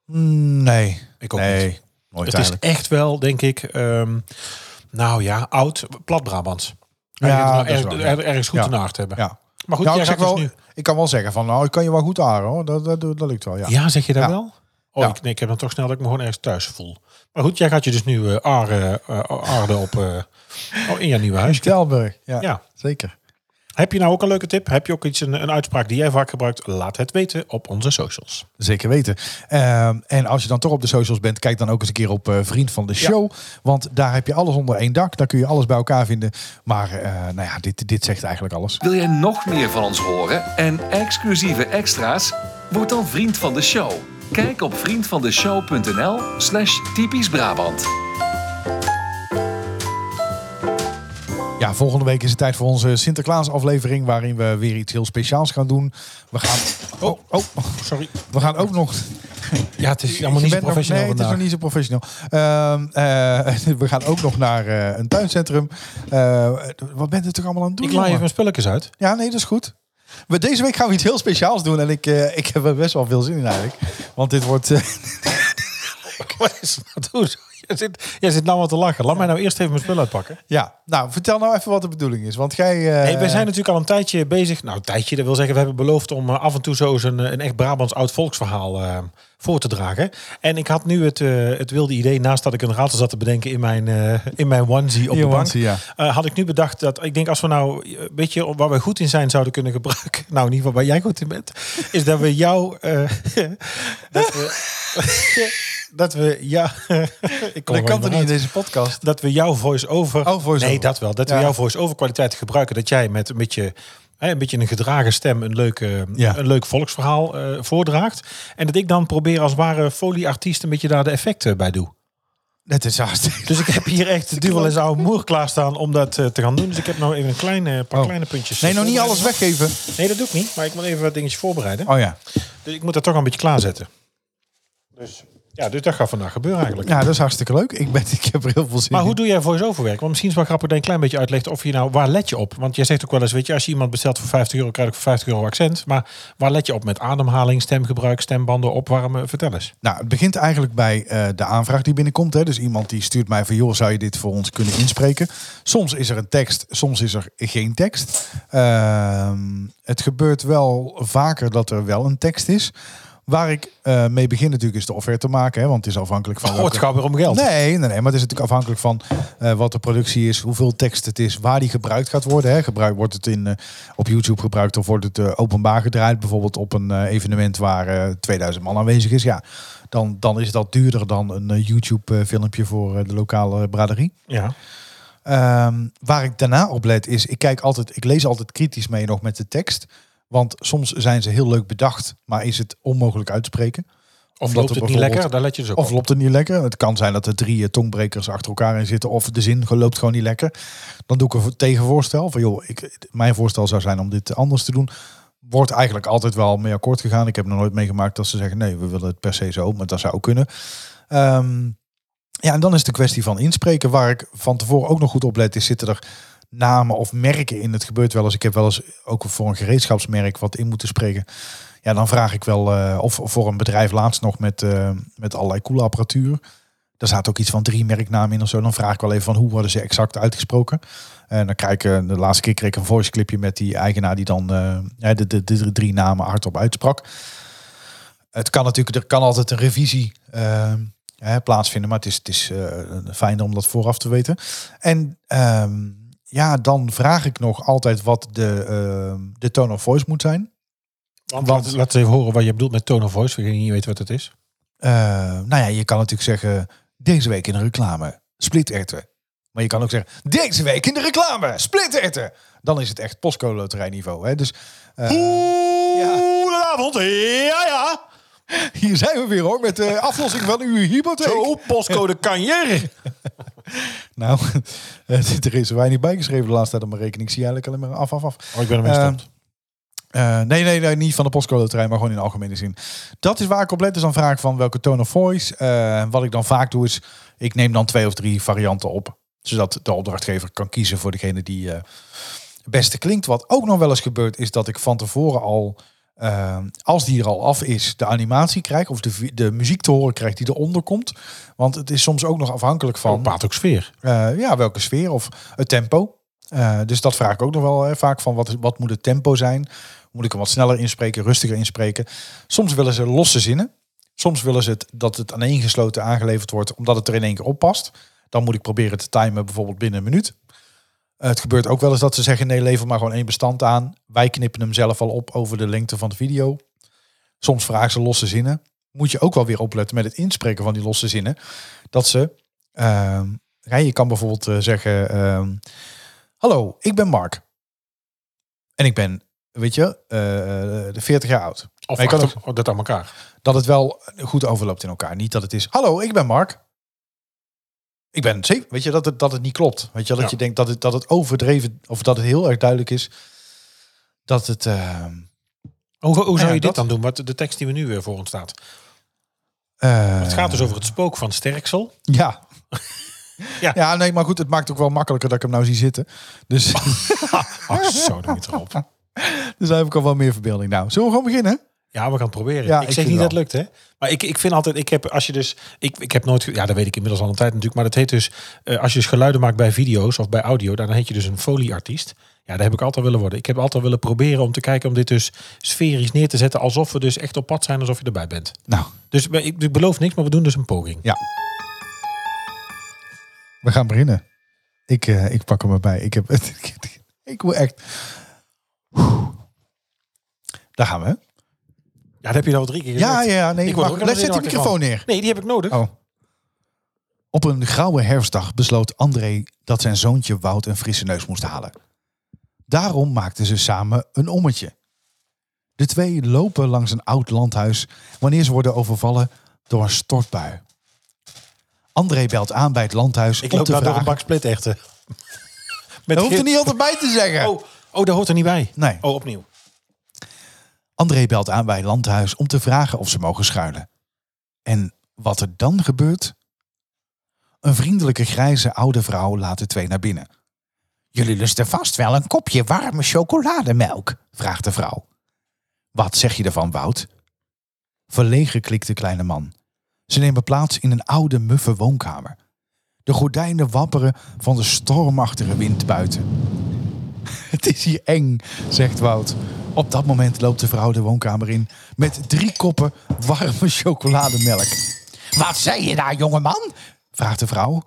Speaker 3: Mm, Nee.
Speaker 2: Ik ook
Speaker 3: nee.
Speaker 2: niet.
Speaker 3: Nooit
Speaker 2: Het is
Speaker 3: eigenlijk.
Speaker 2: echt wel, denk ik, ehm, nou ja, oud, plat Brabants.
Speaker 3: Ja,
Speaker 2: Ja,
Speaker 3: dat is
Speaker 2: er,
Speaker 3: wel, ja.
Speaker 2: er- ergens goed
Speaker 3: Ja.
Speaker 2: ja. hebben.
Speaker 3: Ja.
Speaker 2: Maar goed,
Speaker 3: nou,
Speaker 2: jij
Speaker 3: ik, zeg
Speaker 2: gaat dus
Speaker 3: wel,
Speaker 2: nu.
Speaker 3: ik kan wel zeggen van, nou, ik kan je wel goed aren hoor. Dat, dat, dat, lukt wel, ja.
Speaker 2: Ja, zeg je dat
Speaker 3: Ja.
Speaker 2: wel? Oh,
Speaker 3: Ja.
Speaker 2: ik, nee, ik heb dan toch snel dat ik me gewoon ergens thuis voel. Maar goed, jij gaat je dus nu eh, aarde, eh, aarde op eh, oh, in je nieuwe huis.
Speaker 3: Stelburg. Ja,
Speaker 2: Ja.
Speaker 3: zeker.
Speaker 2: Heb je nou ook een leuke tip? Heb je ook iets, een, een uitspraak die jij vaak gebruikt? Laat het weten op onze socials.
Speaker 3: Zeker weten. Ehm, en als je dan toch op de socials bent, kijk dan ook eens een keer op eh, Vriend van de Show. Want daar heb je alles onder één dak. Daar kun je alles bij elkaar vinden. Maar eh, nou ja, dit, dit zegt eigenlijk alles.
Speaker 1: Wil jij nog meer van ons horen en exclusieve extra's? Word dan vriend van de show. Kijk op vriendvandeshow.nl slash typisch Brabant.
Speaker 3: Ja, volgende week is het tijd voor onze Sinterklaas aflevering. Waarin we weer iets heel speciaals gaan doen. We gaan, oh, oh,
Speaker 2: Sorry.
Speaker 3: we gaan ook nog
Speaker 2: Ja, het is allemaal niet
Speaker 3: Je
Speaker 2: zo
Speaker 3: bent nog-
Speaker 2: professioneel vandaag.
Speaker 3: nee, het is nog niet zo professioneel. Ehm, eh, we gaan ook nog naar eh, een tuincentrum. Eh, wat bent u toch allemaal aan het doen?
Speaker 2: Ik laai even
Speaker 3: jongen?
Speaker 2: mijn spulletjes uit.
Speaker 3: Ja, nee, dat is goed. Maar deze week gaan we iets heel speciaals doen. En ik, eh, ik heb er best wel veel zin in eigenlijk. Want dit wordt... eh,
Speaker 2: Wat is dat? Hoezo? Jij zit, jij zit nou al te lachen. Laat mij nou eerst even mijn spullen uitpakken.
Speaker 3: ja, nou, vertel nou even wat de bedoeling is. Want jij... eh,
Speaker 2: Hey, wij zijn natuurlijk al een tijdje bezig. Nou, een tijdje, dat wil zeggen, we hebben beloofd om eh, af en toe zo eens een, eh, een echt Brabants oud volksverhaal eh, voor te dragen. En ik had nu het, eh, het wilde idee, naast dat ik een raadsel zat te bedenken in mijn, eh, in mijn onesie op
Speaker 3: In je
Speaker 2: de bank,
Speaker 3: onesie, ja.
Speaker 2: eh, had ik nu bedacht dat ik denk als we nou eh, weet je waar we goed in zijn zouden kunnen gebruiken. Nou, in ieder geval waar jij goed in bent, is dat we jou. eh, dat we. dat we. Ja. ik kom
Speaker 3: Dat
Speaker 2: er
Speaker 3: kan
Speaker 2: maar
Speaker 3: toch niet in deze podcast?
Speaker 2: dat we jouw voice-over...
Speaker 3: Oh, voice-over.
Speaker 2: nee, dat wel. Dat
Speaker 3: Ja.
Speaker 2: we jouw voice-over kwaliteit gebruiken. Dat jij met een beetje... Hè, een beetje een gedragen stem, een, leuke,
Speaker 3: Ja.
Speaker 2: een leuk volksverhaal eh, voordraagt. En dat ik dan probeer als ware folieartiest een beetje daar de effecten bij doe.
Speaker 3: Het is hartstikke...
Speaker 2: Dus ik heb hier echt duvel en oude moer klaarstaan om dat eh, te gaan doen. Dus ik heb nou even een kleine, paar
Speaker 3: Oh.
Speaker 2: kleine puntjes.
Speaker 3: Nee, nog niet alles Oh.
Speaker 2: voorbereid.
Speaker 3: weggeven.
Speaker 2: Nee, dat doe ik niet. Maar ik moet even wat dingetjes voorbereiden.
Speaker 3: Oh ja.
Speaker 2: Dus ik moet dat toch wel een beetje klaarzetten. Dus Ja, dus dat gaat vandaag gebeuren eigenlijk.
Speaker 3: Ja, dat is hartstikke leuk. Ik, ben, ik heb er heel veel zin
Speaker 2: Maar hoe
Speaker 3: in.
Speaker 2: doe jij voice-overwerk? Want misschien is het wel grappig dat je een klein beetje uitlegt of je nou, waar let je op? Want jij zegt ook wel eens, weet je, als je iemand bestelt voor 50 euro, krijg ik voor 50 euro accent. Maar waar let je op met ademhaling, stemgebruik, stembanden, opwarmen? Vertel eens.
Speaker 3: Nou, het begint eigenlijk bij eh, de aanvraag die binnenkomt. Hè. Dus iemand die stuurt mij van, joh, zou je dit voor ons kunnen inspreken? Soms is er een tekst, soms is er geen tekst. Ehm, het gebeurt wel vaker dat er wel een tekst is. Waar ik eh, mee begin natuurlijk is de offerte maken. Hè, want het is afhankelijk van...
Speaker 2: Oh, het
Speaker 3: welke-
Speaker 2: gaat weer om geld.
Speaker 3: Nee, nee, nee, maar het is natuurlijk afhankelijk van eh, wat de productie is, hoeveel tekst het is, waar die gebruikt gaat worden. Hè. Gebruikt, wordt het in, eh, op YouTube gebruikt of wordt het eh, openbaar gedraaid? Bijvoorbeeld op een eh, evenement waar eh, 2000 man aanwezig is. Ja, dan, dan is dat duurder dan een YouTube-filmpje voor eh, de lokale braderie.
Speaker 2: Ja.
Speaker 3: Ehm, waar ik daarna op let is, ik kijk altijd, ik lees altijd kritisch mee nog met de tekst. Want soms zijn ze heel leuk bedacht, maar is het onmogelijk uit te spreken.
Speaker 2: Of loopt
Speaker 3: Omdat er
Speaker 2: het niet
Speaker 3: bijvoorbeeld-
Speaker 2: lekker? Daar let je dus ook
Speaker 3: Of
Speaker 2: op.
Speaker 3: loopt het niet lekker? Het kan zijn dat er drie eh, tongbrekers achter elkaar in zitten. Of de zin loopt gewoon niet lekker. Dan doe ik een vo- tegenvoorstel. Van joh, ik, mijn voorstel zou zijn om dit anders te doen. Wordt eigenlijk altijd wel mee akkoord gegaan. Ik heb nog nooit meegemaakt dat ze zeggen nee, we willen het per se zo. Maar dat zou ook kunnen. Ehm, ja, en dan is het een kwestie van inspreken. Waar ik van tevoren ook nog goed op let is zitten er namen of merken in. Het gebeurt wel eens. Ik heb wel eens ook voor een gereedschapsmerk wat in moeten spreken. Ja, dan vraag ik wel, eh, of of voor een bedrijf laatst nog met, eh, met allerlei coole apparatuur. Daar staat ook iets van drie merknamen in of zo. Dan vraag ik wel even van hoe worden ze exact uitgesproken. En dan krijg ik, eh, de laatste keer kreeg ik een voice clipje met die eigenaar die dan eh, ja, de, de, de drie namen hardop uitsprak. Het kan natuurlijk, er kan altijd een revisie eh, hè, plaatsvinden, maar het is, het is eh, fijn om dat vooraf te weten. En ehm, ja, dan vraag ik nog altijd wat de, ehm, de tone of voice moet zijn.
Speaker 2: Want, laat- laat eens even horen wat je bedoelt met tone of voice. We niet weten wat het is.
Speaker 3: Eh, nou ja, je kan natuurlijk zeggen, deze week in de reclame, splitterten. Maar je kan ook zeggen, deze week in de reclame, splitterten. Dan is het echt postcode loterijniveau. Hè? Dus eh, ja,
Speaker 2: Goedenavond. Ja, ja.
Speaker 3: hier zijn we weer hoor, met de aflossing van uw hypotheek.
Speaker 2: postcode kanjer.
Speaker 3: Nou, er is weinig bijgeschreven de laatste tijd op mijn rekening. Ik zie eigenlijk alleen maar af, af, af.
Speaker 2: Oh, ik ben ermee
Speaker 3: Ehm,
Speaker 2: gestopt.
Speaker 3: Eh, nee, nee, nee, niet van de postcode loterij, maar gewoon in de algemene zin. Dat is waar ik op let. Dus dan vraag ik van welke tone of voice. Eh, wat ik dan vaak doe is, ik neem dan twee of drie varianten op. Zodat de opdrachtgever kan kiezen voor degene die eh, het beste klinkt. Wat ook nog wel eens gebeurt, is dat ik van tevoren al, eh, als die er al af is, de animatie krijg. Of de, vi- de muziek te horen krijg die eronder komt. Want het is soms ook nog afhankelijk van...
Speaker 2: Van Paat ook sfeer.
Speaker 3: Eh, ja, welke sfeer of het tempo. Eh, dus dat vraag ik ook nog wel hè, vaak van wat, is- wat moet het tempo zijn? Moet ik hem wat sneller inspreken, rustiger inspreken? Soms willen ze losse zinnen. Soms willen ze het, dat het aaneengesloten aangeleverd wordt omdat het er in één keer op past. Dan moet ik proberen te timen bijvoorbeeld binnen een minuut. Eh, het gebeurt ook wel eens dat ze zeggen nee, lever maar gewoon één bestand aan. Wij knippen hem zelf al op over de lengte van de video. Soms vragen ze losse zinnen. Moet je ook wel weer opletten met het inspreken van die losse zinnen. Dat ze ehm, ja, je kan bijvoorbeeld eh, zeggen: ehm, Hallo, ik ben Mark. En ik ben, weet je, eh, de 40 jaar oud.
Speaker 2: Of
Speaker 3: Maar je kan
Speaker 2: achter- oh, dat aan elkaar.
Speaker 3: Dat het wel goed overloopt in elkaar. Niet dat het is: Hallo, ik ben Mark. Ik ben zeker. Weet je dat het, dat het niet klopt? Weet je dat
Speaker 2: Ja.
Speaker 3: je denkt dat het, dat het overdreven of dat het heel erg duidelijk is dat het. ehm,
Speaker 2: Hoe, hoe zou
Speaker 3: ja,
Speaker 2: je dit
Speaker 3: dat-
Speaker 2: dan doen? Wat de tekst die we nu weer voor ons staat.
Speaker 3: eh,
Speaker 2: Het gaat dus over het spook van Sterksel.
Speaker 3: Ja.
Speaker 2: Ja.
Speaker 3: ja. nee, maar goed, het maakt ook wel makkelijker dat ik hem nou zie zitten. Dus,
Speaker 2: Oh, zo dan niet erop.
Speaker 3: dus daar heb ik al wel meer verbeelding. Nou, zullen we gewoon beginnen?
Speaker 2: Ja, we gaan het proberen.
Speaker 3: Ja,
Speaker 2: ik
Speaker 3: ik
Speaker 2: zeg
Speaker 3: vind
Speaker 2: niet dat
Speaker 3: wel.
Speaker 2: het lukt, hè? Maar ik, ik vind altijd, ik heb als je dus, ik, ik heb nooit, ge- ja, dat weet ik inmiddels al een tijd natuurlijk, maar dat heet dus, eh, als je dus geluiden maakt bij video's of bij audio, dan heet je dus een folieartiest. Ja, dat heb ik altijd willen worden. Ik heb altijd willen proberen om te kijken om dit dus sferisch neer te zetten, alsof we dus echt op pad zijn, alsof je erbij bent.
Speaker 3: Nou,
Speaker 2: Dus we- ik, ik beloof niks, maar we doen dus een poging.
Speaker 3: Ja. We gaan beginnen. Ik, eh, ik pak hem erbij. Ik heb Ik wil echt. Daar gaan we.
Speaker 2: Ja, dat heb je nou al drie keer
Speaker 3: Ja,
Speaker 2: gezegd.
Speaker 3: ja, ja. Nee,
Speaker 2: Ik word er
Speaker 3: wacht,
Speaker 2: ook
Speaker 3: leg- zet
Speaker 2: helemaal
Speaker 3: die
Speaker 2: zenuwachtig van.
Speaker 3: microfoon neer.
Speaker 2: Nee, die heb ik nodig.
Speaker 3: Oh. Op een grauwe herfstdag besloot André dat zijn zoontje Wout een frisse neus moest halen. Daarom maakten ze samen een ommetje. De twee lopen langs een oud landhuis wanneer ze worden overvallen door een stortbui. André belt aan bij het landhuis
Speaker 2: ik
Speaker 3: om
Speaker 2: loop
Speaker 3: te
Speaker 2: daar door een
Speaker 3: vragen...
Speaker 2: bak split echten. Met
Speaker 3: Dat hoeft er
Speaker 2: ge-
Speaker 3: niet altijd bij te zeggen.
Speaker 2: Oh, oh, dat hoort er niet bij.
Speaker 3: Nee.
Speaker 2: Oh, opnieuw.
Speaker 3: Ah, André belt aan bij Landhuis om te vragen of ze mogen schuilen. En Wat er dan gebeurt? Een vriendelijke grijze oude vrouw laat de twee naar binnen. Jullie lusten vast wel een kopje warme chocolademelk, vraagt de vrouw. Wat zeg je ervan, Wout? Verlegen klikt de kleine man. Ze nemen plaats in een oude, muffe woonkamer. De gordijnen wapperen van de stormachtige wind buiten. Het is hier eng, zegt Wout. Op dat moment loopt de vrouw de woonkamer in met drie koppen warme chocolademelk. Wat zei je daar, jongeman? vraagt de vrouw.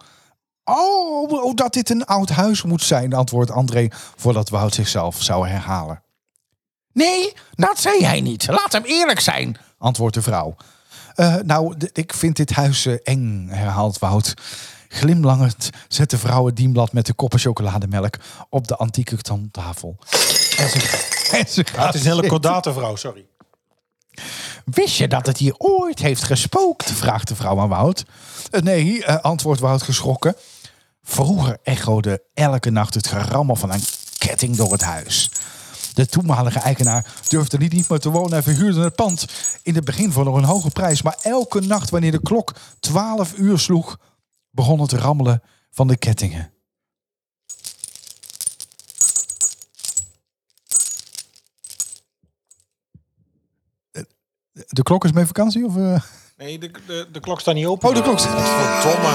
Speaker 3: Oh, oh, dat dit een oud huis moet zijn, antwoordt André voordat Wout zichzelf zou herhalen. Nee, dat zei hij niet. Laat hem eerlijk zijn, antwoordt de vrouw. "Eh, nou, d- ik vind dit huis eh, eng, herhaalt Wout. Glimlachend zet de vrouw het dienblad met de koppen chocolademelk op de antieke tafel. En ze, en ze gaat
Speaker 2: Ah, Het is een hele kordate vrouw, sorry.
Speaker 3: Wist je dat het hier ooit heeft gespookt? vraagt de vrouw aan Wout. "Eh, Nee, eh, antwoordt Wout geschrokken. Vroeger echode elke nacht het gerammel van een ketting door het huis. De toenmalige eigenaar durfde niet, niet meer te wonen en verhuurde het pand. In het begin voor nog een hoge prijs, maar elke nacht wanneer de klok 12 uur sloeg, begon het rammelen van de kettingen. De klok is mee vakantie? Of, eh?
Speaker 2: Nee, de, de, de klok staat niet open.
Speaker 3: Oh, de klok staat.
Speaker 2: Verdomme.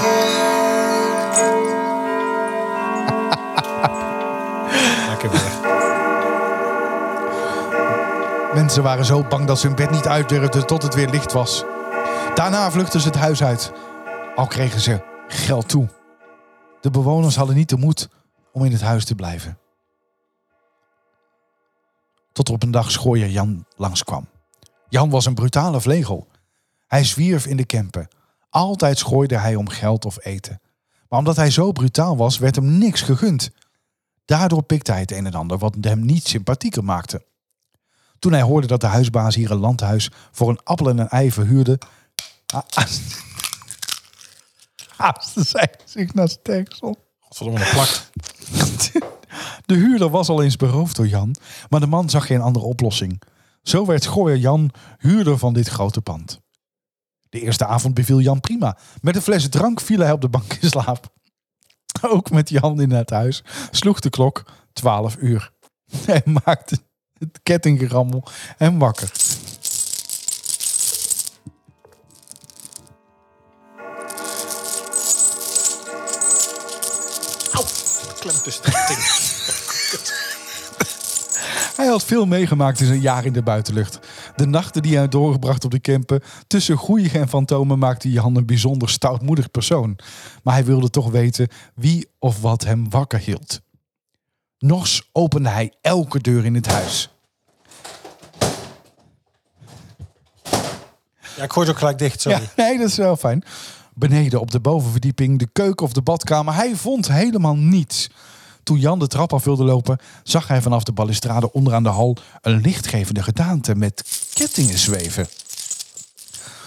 Speaker 2: Lekker weer.
Speaker 3: Mensen waren zo bang dat ze hun bed niet uit durfden tot het weer licht was. Daarna vluchtten ze het huis uit. Al kregen ze geld toe. De bewoners hadden niet de moed om in het huis te blijven. Tot op een dag schooier Jan langskwam. Jan was een brutale vlegel. Hij zwierf in de kempen. Altijd schooide hij om geld of eten. Maar omdat hij zo brutaal was, werd hem niks gegund. Daardoor pikte hij het een en ander wat hem niet sympathieker maakte. Toen hij hoorde dat de huisbaas hier een landhuis voor een appel en een ei verhuurde, Ah, ha- haastte zij zich naar Sterksel.
Speaker 2: Godverdomme, dat plakt.
Speaker 3: De huurder was al eens beroofd door Jan, maar de man zag geen andere oplossing. Zo werd Gooier Jan huurder van dit grote pand. De eerste avond beviel Jan prima. Met een fles drank viel hij op de bank in slaap. Ook met Jan in het huis sloeg de klok 12 uur. Hij maakte het kettinggerammel hem wakker.
Speaker 2: Klem tussen de ting.
Speaker 3: Hij had veel meegemaakt in zijn jaar in de buitenlucht. De nachten die hij doorgebracht op de campen tussen goeie en fantomen maakte Jan een bijzonder stoutmoedig persoon. Maar hij wilde toch weten wie of wat hem wakker hield. Nors opende hij elke deur in het huis.
Speaker 2: Ja, ik gooi het ook gelijk dicht, sorry.
Speaker 3: Ja, nee, dat is wel fijn. Beneden op de bovenverdieping, de keuken of de badkamer, hij vond helemaal niets. Toen Jan de trap af wilde lopen, zag hij vanaf de balustrade onderaan de hal een lichtgevende gedaante met kettingen zweven.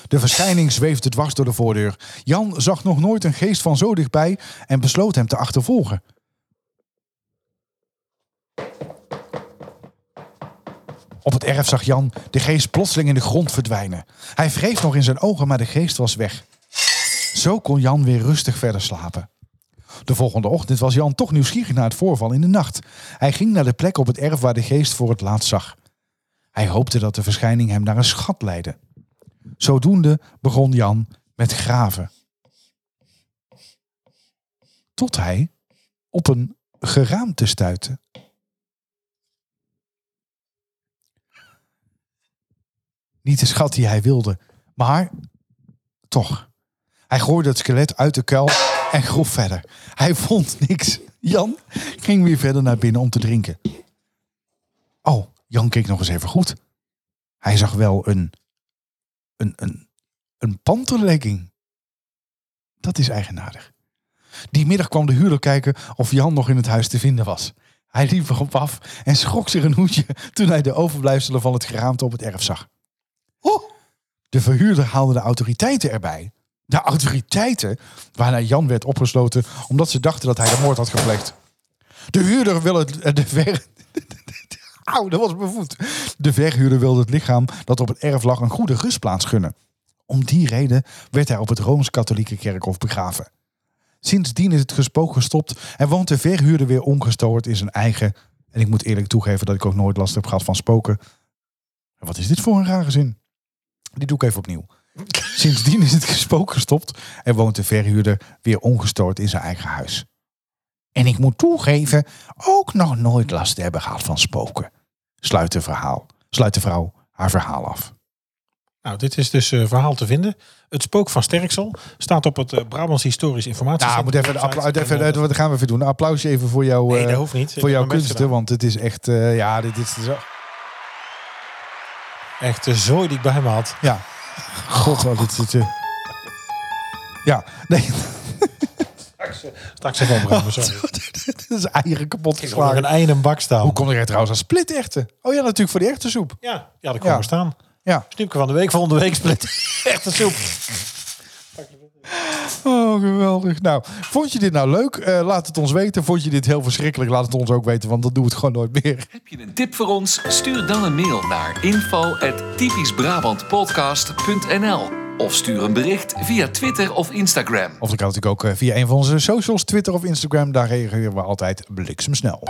Speaker 3: De verschijning zweefde dwars door de voordeur. Jan zag nog nooit een geest van zo dichtbij en besloot hem te achtervolgen. Op het erf zag Jan de geest plotseling in de grond verdwijnen. Hij wreef nog in zijn ogen, maar de geest was weg. Zo kon Jan weer rustig verder slapen. De volgende ochtend was Jan toch nieuwsgierig naar het voorval in de nacht. Hij ging naar de plek op het erf waar de geest voor het laatst zag. Hij hoopte dat de verschijning hem naar een schat leidde. Zodoende begon Jan met graven. Tot hij op een geraamte stuitte. Niet de schat die hij wilde, maar toch. Hij gooide het skelet uit de kuil en groef verder. Hij vond niks. Jan ging weer verder naar binnen om te drinken. Oh, Jan keek nog eens even goed. Hij zag wel een. een. een, een panterlegging. Dat is eigenaardig. Die middag kwam de huurder kijken of Jan nog in het huis te vinden was. Hij liep erop af en schrok zich een hoedje toen hij de overblijfselen van het geraamte op het erf zag. Oh, de verhuurder haalde de autoriteiten erbij. De autoriteiten waarna Jan werd opgesloten omdat ze dachten dat hij de moord had gepleegd. De huurder wil het... eh, De ver... Au, dat was bevoed. De verhuurder wilde het lichaam dat op het erf lag een goede rustplaats gunnen. Om die reden werd hij op het Rooms-Katholieke Kerkhof begraven. Sindsdien is het gespook gestopt en woont de verhuurder weer ongestoord in zijn eigen... En ik moet eerlijk toegeven dat ik ook nooit last heb gehad van spoken. En Wat is dit voor een rare zin? Die doe ik even opnieuw. Sindsdien is het gespook gestopt en woont de verhuurder weer ongestoord in zijn eigen huis. En ik moet toegeven, ook nog nooit last te hebben gehad van spoken. Sluit de, verhaal, sluit de vrouw haar verhaal af.
Speaker 2: Nou, dit is dus eh, verhaal te vinden. Het spook van Sterksel staat op het eh, Brabants Historisch Informatie.
Speaker 3: Nou, moet even, de appla- even, eh, dat gaan we even doen. Een applausje even voor, jou,
Speaker 2: Nee, dat
Speaker 3: eh,
Speaker 2: hoeft niet. Ik
Speaker 3: voor jouw
Speaker 2: heb mijn best
Speaker 3: kunsten, want het is echt... eh, ja, dit is... Zo.
Speaker 2: eh, Echt de zooi die ik bij me had.
Speaker 3: Ja. God, wat dit zit... eh. Ja, nee,
Speaker 2: Straks even opruimen, sorry.
Speaker 3: dit is eieren kapot
Speaker 2: Ik zag
Speaker 3: geslagen.
Speaker 2: een ei in een bak staan.
Speaker 3: Hoe kom ik er trouwens aan splitechten? Oh ja, natuurlijk voor die echte soep.
Speaker 2: Ja, ja, dat kon
Speaker 3: Ja.
Speaker 2: maar staan.
Speaker 3: Ja.
Speaker 2: Snoepje van de week, volgende week split. Echte soep.
Speaker 3: Oh, geweldig. Nou, vond je dit nou leuk? Eh, laat het ons weten. Vond je dit heel verschrikkelijk? Laat het ons ook weten, want dan doen we het gewoon nooit meer.
Speaker 1: Heb je een tip voor ons? Stuur dan een mail naar info@typischbrabantpodcast.nl of stuur een bericht via Twitter of Instagram.
Speaker 3: Of ik kan natuurlijk ook eh, via een van onze socials, Twitter of Instagram. Daar reageren we altijd bliksemsnel.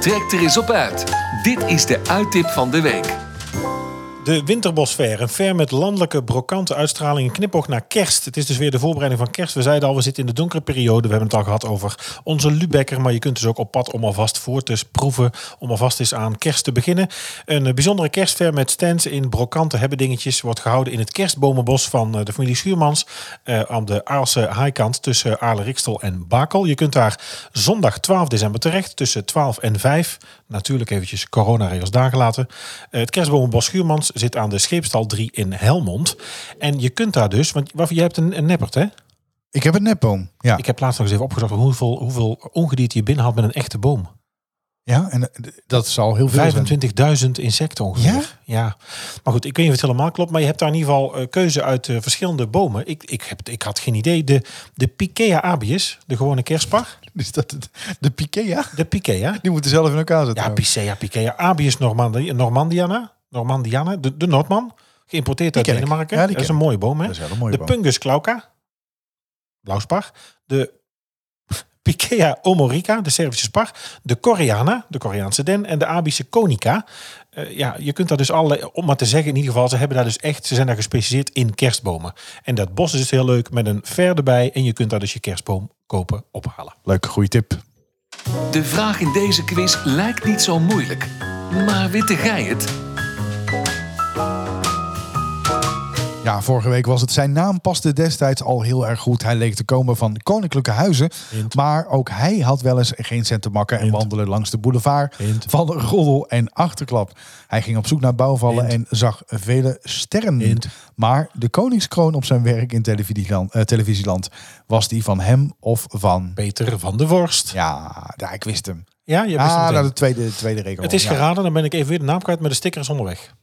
Speaker 1: Trek er eens op uit. Dit is de uittip van de week.
Speaker 2: De Winterbosfair, een fair met landelijke brokante uitstraling. Een knipoog naar kerst. Het is dus weer de voorbereiding van kerst. We zeiden al, we zitten in de donkere periode. We hebben het al gehad over onze Lubecker. Maar je kunt dus ook op pad om alvast voor te proeven. Om alvast eens aan kerst te beginnen. Een eh, bijzondere kerstfair met stands in brokante hebbedingetjes. Wordt gehouden in het kerstbomenbos van eh, de familie Schuurmans. eh, aan de Aalse haaikant tussen Aarle Rikstel en Bakel. Je kunt daar zondag 12 december terecht tussen 12 en 5. Natuurlijk eventjes coronaregels daar gelaten. Eh, Het kerstbomenbos Schuurmans zit aan de Scheepstal 3 in Helmond. En je kunt daar dus, want Waffie, jij hebt een, een neppert hè?
Speaker 3: Ik heb een nepboom. Ja.
Speaker 2: Ik heb laatst nog eens even opgezocht hoeveel, hoeveel ongedierte je binnen had met een echte boom.
Speaker 3: ja, en eh, d- dat zal heel veel zijn.
Speaker 2: 25.000 insecten ongeveer. Ja? Maar goed, ik weet niet of het helemaal klopt. Maar je hebt daar in ieder geval eh, keuze uit eh, verschillende bomen. Ik, ik, heb, ik had geen idee. De, de Pikea abies, de gewone kerstpar.
Speaker 3: Is dat het? De Pikea?
Speaker 2: De Pikea.
Speaker 3: Die moeten zelf in elkaar zetten.
Speaker 2: Ja, Picea, Pikea abies Normandi Normandiana. Normandiana, de, de Noordman. Geïmporteerd uit
Speaker 3: ken ik.
Speaker 2: Denemarken.
Speaker 3: Ja, die
Speaker 2: dat is
Speaker 3: ken
Speaker 2: een mooie boom, hè?
Speaker 3: Dat is wel een mooie
Speaker 2: de
Speaker 3: boom.
Speaker 2: Pungus glauca. Blauwspar. De Pikea omorica, de Servische spar. De Koreana, de Koreaanse den. En de Abische conica. Eh, ja, je kunt daar dus allerlei, om maar te zeggen in ieder geval, ze hebben daar dus echt, ze zijn daar gespecialiseerd in kerstbomen. En dat bos is dus heel leuk met een ver erbij. En je kunt daar dus je kerstboom kopen, ophalen.
Speaker 3: Leuke, goede tip.
Speaker 1: De vraag in deze quiz lijkt niet zo moeilijk. Maar witte gij het?
Speaker 3: Ja, vorige week was het. Zijn naam paste destijds al heel erg goed. Hij leek te komen van koninklijke huizen. Maar ook hij had wel eens geen cent te makken en wandelen langs de boulevard
Speaker 2: Hint.
Speaker 3: van roddel en achterklap. Hij ging op zoek naar bouwvallen en zag vele sterren.
Speaker 2: Hint.
Speaker 3: Maar de koningskroon op zijn werk in televisieland, eh, televisieland was die van hem of van...
Speaker 2: Peter van de Vorst.
Speaker 3: Ja, ja ik wist hem.
Speaker 2: Ja, je hebt
Speaker 3: Ah,
Speaker 2: het
Speaker 3: nou,
Speaker 2: meteen.
Speaker 3: de tweede, tweede regel.
Speaker 2: Het is
Speaker 3: Oh, ja.
Speaker 2: geraden, dan ben ik even weer de naam kwijt, maar de sticker is onderweg.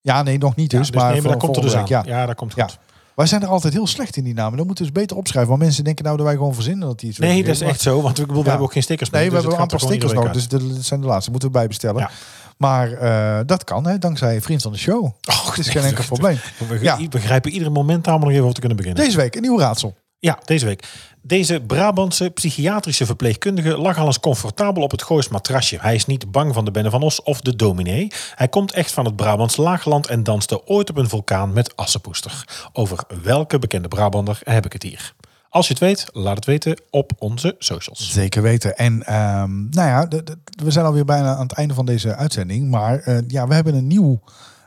Speaker 3: Ja, nee, nog niet
Speaker 2: Dus
Speaker 3: dus. maar
Speaker 2: nee, maar
Speaker 3: voor-
Speaker 2: dat komt er dus aan.
Speaker 3: volgende
Speaker 2: Ja,
Speaker 3: week, ja.
Speaker 2: dat komt
Speaker 3: Ja.
Speaker 2: goed.
Speaker 3: Wij zijn er altijd heel slecht in die namen. Dan moeten we dus beter opschrijven. Want mensen denken nou dat wij gewoon verzinnen dat die iets
Speaker 2: Nee,
Speaker 3: weten.
Speaker 2: dat is
Speaker 3: Maar-
Speaker 2: echt zo, want ik bedoel, we
Speaker 3: Ja.
Speaker 2: hebben ook geen stickers meer.
Speaker 3: Nee, we
Speaker 2: dus
Speaker 3: hebben
Speaker 2: het
Speaker 3: amper
Speaker 2: gaat er
Speaker 3: stickers
Speaker 2: gewoon
Speaker 3: nodig.
Speaker 2: iedere
Speaker 3: Dus dat dat zijn de laatste. Moeten we bijbestellen.
Speaker 2: Ja.
Speaker 3: Maar eh, dat kan, hè, dankzij Vriend van de Show. Oh, het is geen enkel probleem.
Speaker 2: week uit. dus We
Speaker 3: Ja.
Speaker 2: ge- begrijpen ieder moment namelijk even of te kunnen beginnen.
Speaker 3: Deze week een nieuw raadsel.
Speaker 2: Ja, deze week. Deze Brabantse psychiatrische verpleegkundige lag al eens comfortabel op het Goois matrasje. Hij is niet bang van de Bende van Os of de dominee. Hij komt echt van het Brabants laagland en danste ooit op een vulkaan met assenpoester. Over welke bekende Brabander heb ik het hier? Als je het weet, laat het weten op onze socials.
Speaker 3: Zeker weten. En ehm, nou ja, de- de- we zijn alweer bijna aan het einde van deze uitzending. Maar eh, ja, we hebben een nieuw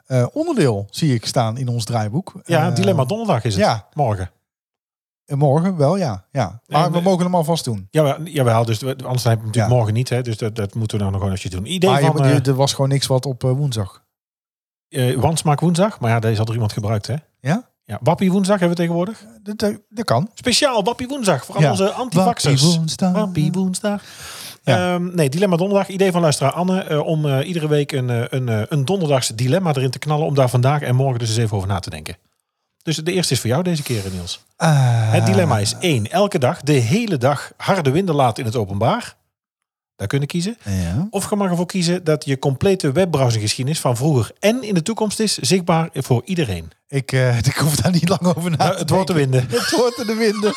Speaker 3: eh, onderdeel, zie ik staan in ons draaiboek.
Speaker 2: Ja,
Speaker 3: Eh,
Speaker 2: Dilemma Donderdag is het.
Speaker 3: ja.
Speaker 2: Morgen.
Speaker 3: en Morgen wel, ja. ja. Maar
Speaker 2: En,
Speaker 3: we
Speaker 2: eh,
Speaker 3: mogen hem alvast doen.
Speaker 2: Jawel, jawel dus we- anders heb je hem natuurlijk
Speaker 3: Ja.
Speaker 2: morgen niet. Hè, dus dat, dat moeten we nou nog gewoon even doen. Idee
Speaker 3: Maar je-
Speaker 2: van
Speaker 3: je-
Speaker 2: eh
Speaker 3: er was gewoon niks wat op eh, woensdag.
Speaker 2: eh, Wansmaak woensdag. Maar ja, deze had er iemand gebruikt, hè?
Speaker 3: Ja?
Speaker 2: Ja, Wappie woensdag hebben we tegenwoordig.
Speaker 3: Dat, dat, dat kan.
Speaker 2: Speciaal Wappie woensdag voor al
Speaker 3: Ja.
Speaker 2: onze antivaxers.
Speaker 3: Wappie woensdag.
Speaker 2: Wappie woensdag.
Speaker 3: Ja.
Speaker 2: Ehm, nee, Dilemma Donderdag. Idee van luisteraar Anne eh, om eh, iedere week een, eh, een, eh, een donderdags dilemma erin te knallen. Om daar vandaag en morgen dus eens even over na te denken. Dus de eerste is voor jou deze keer, Niels.
Speaker 3: Eh,
Speaker 2: Het dilemma is één. Elke dag, de hele dag, harde winden laten in het openbaar. Daar kunnen kiezen.
Speaker 3: Ja.
Speaker 2: Of je mag ervoor kiezen dat je complete webbrowsergeschiedenis van vroeger en in de toekomst is zichtbaar voor iedereen.
Speaker 3: Ik, eh, ik hoef daar niet lang over na
Speaker 2: Nou,
Speaker 3: te
Speaker 2: het wordt te winden.
Speaker 3: denken. Het wordt in de winden.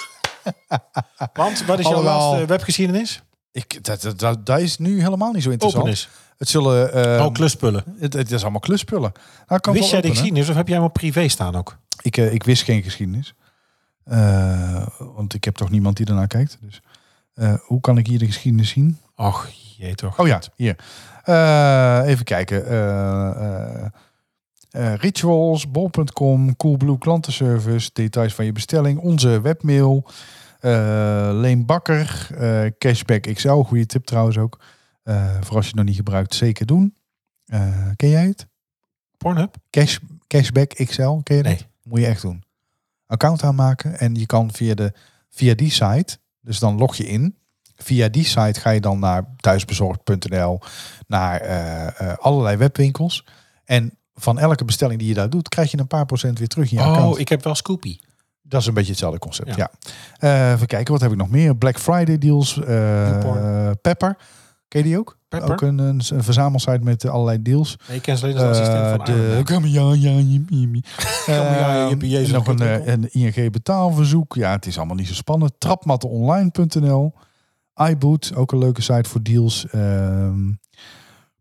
Speaker 2: Want wat is jouw
Speaker 3: Alhoewel-
Speaker 2: laatste webgeschiedenis?
Speaker 3: Ik, dat, dat, dat, dat is nu helemaal niet zo interessant.
Speaker 2: Open is.
Speaker 3: Het zullen... eh,
Speaker 2: oh, klusspullen.
Speaker 3: het, het is allemaal kluspullen. Nou, ik kan
Speaker 2: Wist
Speaker 3: wel
Speaker 2: jij de
Speaker 3: openen.
Speaker 2: geschiedenis of heb jij hem op privé staan ook?
Speaker 3: Ik, eh, ik wist geen geschiedenis. Eh, want ik heb toch niemand die ernaar kijkt. Dus, eh, hoe kan ik hier de geschiedenis zien?
Speaker 2: Och, jee toch.
Speaker 3: Oh ja, hier. Eh, even kijken. Eh, eh, eh, rituals, bol.com, Coolblue klantenservice, details van je bestelling, onze webmail, eh, Leen Bakker, eh, Cashback XL, goede tip trouwens ook. Eh, voor als je het nog niet gebruikt, zeker doen. Eh, ken jij het?
Speaker 2: Pornhub?
Speaker 3: Cash, cashback XL, ken je dat?
Speaker 2: Nee.
Speaker 3: Moet je echt doen. Account aanmaken en je kan via, de, via die site, dus dan log je in. Via die site ga je dan naar thuisbezorgd.nl, naar eh, eh, allerlei webwinkels. En van elke bestelling die je daar doet, krijg je een paar procent weer terug in je account.
Speaker 2: oh, ik heb wel Scoopy.
Speaker 3: Dat is een beetje hetzelfde concept, ja.
Speaker 2: Ja.
Speaker 3: Eh, even kijken, wat heb ik nog meer? Black Friday deals, eh,
Speaker 2: Newporn.
Speaker 3: Pepper. Ken je die ook?
Speaker 2: Pepper?
Speaker 3: Ook een, een, een verzamelsite met eh, allerlei deals.
Speaker 2: Nee, ik ken ze alleen als assistent van
Speaker 3: Eh, de
Speaker 2: Arend.
Speaker 3: Kom ja, ja, jippie, jippie.
Speaker 2: ja, jippie,
Speaker 3: Eh,
Speaker 2: jezus,
Speaker 3: Nog een,
Speaker 2: goed,
Speaker 3: eh,
Speaker 2: winkel.
Speaker 3: een ING betaalverzoek. Ja, het is allemaal niet zo spannend. Trapmattenonline.nl. iBoot, ook een leuke site voor deals. Ehm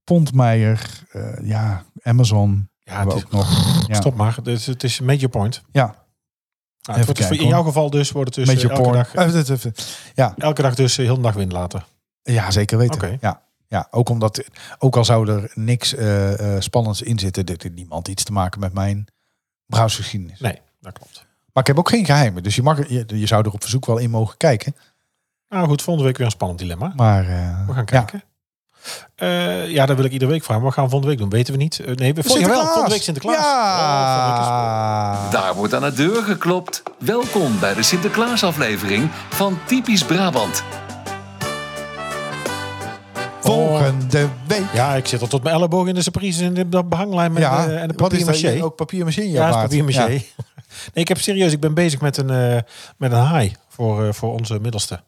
Speaker 3: Pontmeijer. eh, ja, Amazon.
Speaker 2: Ja,
Speaker 3: hebben
Speaker 2: het
Speaker 3: we
Speaker 2: is,
Speaker 3: ook nog. Ja,
Speaker 2: Stop maar. Dus het is een major point.
Speaker 3: ja
Speaker 2: Nou, het wordt dus
Speaker 3: kijken,
Speaker 2: voor- in
Speaker 3: hoor.
Speaker 2: jouw geval dus wordt het dus
Speaker 3: beetje
Speaker 2: eh, elke
Speaker 3: porn.
Speaker 2: dag,
Speaker 3: Eh, dat- dat- dat-
Speaker 2: elke dag dus eh, heel de dag wind laten.
Speaker 3: Ja, zeker weten.
Speaker 2: Oké.
Speaker 3: Ja. Ja, ook omdat, ook al zou er niks eh, eh, spannends in zitten, dit heeft niemand iets te maken met mijn browsergeschiedenis.
Speaker 2: Nee, dat klopt.
Speaker 3: Maar ik heb ook geen geheimen. Dus je, mag, er- je, je zou er op verzoek wel in mogen kijken.
Speaker 2: Nou goed, volgende week weer een spannend dilemma.
Speaker 3: Maar eh,
Speaker 2: We gaan kijken. Ja. ja, dat wil ik iedere week vragen. Wat gaan we volgende week doen? Weten we niet. Eh, nee, we
Speaker 3: Ja.
Speaker 2: volgende, jawel, volgende week Sinterklaas. Oh, volgende week is het-
Speaker 3: Ja.
Speaker 1: Daar wordt aan de deur geklopt. Welkom bij de Sinterklaasaflevering van Typisch Brabant.
Speaker 2: Oh,
Speaker 3: Volgende week.
Speaker 2: Ja, ik zit al tot mijn elleboog in de surprises en de behanglijn met
Speaker 3: Ja.
Speaker 2: de, en de
Speaker 3: Wat is
Speaker 2: papier
Speaker 3: dat?
Speaker 2: maché.
Speaker 3: Ook papier maché in jouw
Speaker 2: Ja, is
Speaker 3: baard?
Speaker 2: papier maché.
Speaker 3: Ja.
Speaker 2: Nee, ik heb serieus, ik ben bezig met een, eh, met een haai voor, eh, voor onze middelste.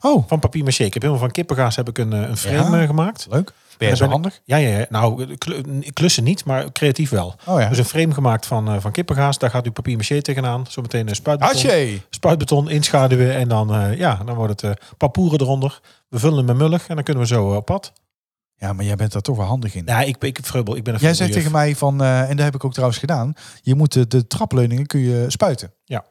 Speaker 3: Oh,
Speaker 2: Van papier maché. Ik heb helemaal van kippengaas heb ik een, eh, een frame
Speaker 3: Ja.
Speaker 2: eh, gemaakt.
Speaker 3: leuk. Ben je
Speaker 2: En
Speaker 3: zo
Speaker 2: ben-
Speaker 3: handig?
Speaker 2: Ja, ja, ja. nou, kl- klussen niet, maar creatief wel.
Speaker 3: Oh ja.
Speaker 2: Dus een frame gemaakt van, eh, van kippengaas. Daar gaat uw papier maché tegenaan. Zometeen een spuitbeton.
Speaker 3: Haché.
Speaker 2: Spuitbeton inschaduwen en dan, eh, ja, dan wordt het eh papoeren eronder. We vullen hem met mullig en dan kunnen we zo eh, op pad.
Speaker 3: Ja, maar jij bent daar toch wel handig in.
Speaker 2: Ja, ik, ik, vreubel, ik ben een
Speaker 3: Jij
Speaker 2: vreubel
Speaker 3: zegt
Speaker 2: juf.
Speaker 3: tegen mij van, eh, en dat heb ik ook trouwens gedaan, je moet de, de trapleuningen kun je spuiten.
Speaker 2: Ja.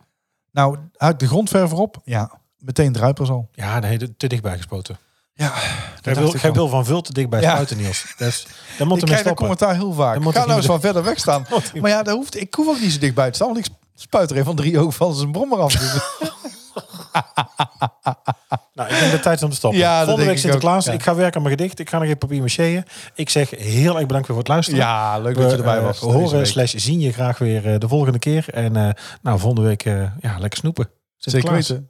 Speaker 3: Nou, uit de grondverf op, ja, meteen druipers al.
Speaker 2: Ja, nee, te dichtbij gespoten.
Speaker 3: Ja,
Speaker 2: Jij
Speaker 3: dacht
Speaker 2: wil,
Speaker 3: ik
Speaker 2: jij
Speaker 3: al.
Speaker 2: wil van veel te dichtbij
Speaker 3: Ja.
Speaker 2: spuiten, Niels. Dus, dan moet
Speaker 3: ik
Speaker 2: er mee
Speaker 3: krijg dat
Speaker 2: stoppen.
Speaker 3: commentaar heel vaak.
Speaker 2: Dan moet
Speaker 3: Ga
Speaker 2: ik
Speaker 3: nou eens
Speaker 2: niet
Speaker 3: wat verder weg staan.
Speaker 2: Moet ik-
Speaker 3: Maar ja, dat hoeft, ik hoef ook niet zo dichtbij te staan, want ik spuit er een van drie ogen van zijn brommer af. Dus-
Speaker 2: Nou, ik denk dat het tijd is om te stoppen.
Speaker 3: Ja, dat
Speaker 2: Volgende
Speaker 3: denk
Speaker 2: week
Speaker 3: ik
Speaker 2: Sinterklaas.
Speaker 3: ook, ja.
Speaker 2: Ik ga werken aan mijn gedicht. Ik ga nog even papier macheën. Ik zeg heel erg bedankt weer voor het luisteren.
Speaker 3: ja, leuk dat je erbij
Speaker 2: eh,
Speaker 3: was. deze
Speaker 2: horen
Speaker 3: week.
Speaker 2: slash zien je graag weer eh, de volgende keer. En eh, nou, volgende week eh, ja, lekker snoepen.
Speaker 3: Zeker
Speaker 2: Sinterklaas.
Speaker 3: weten.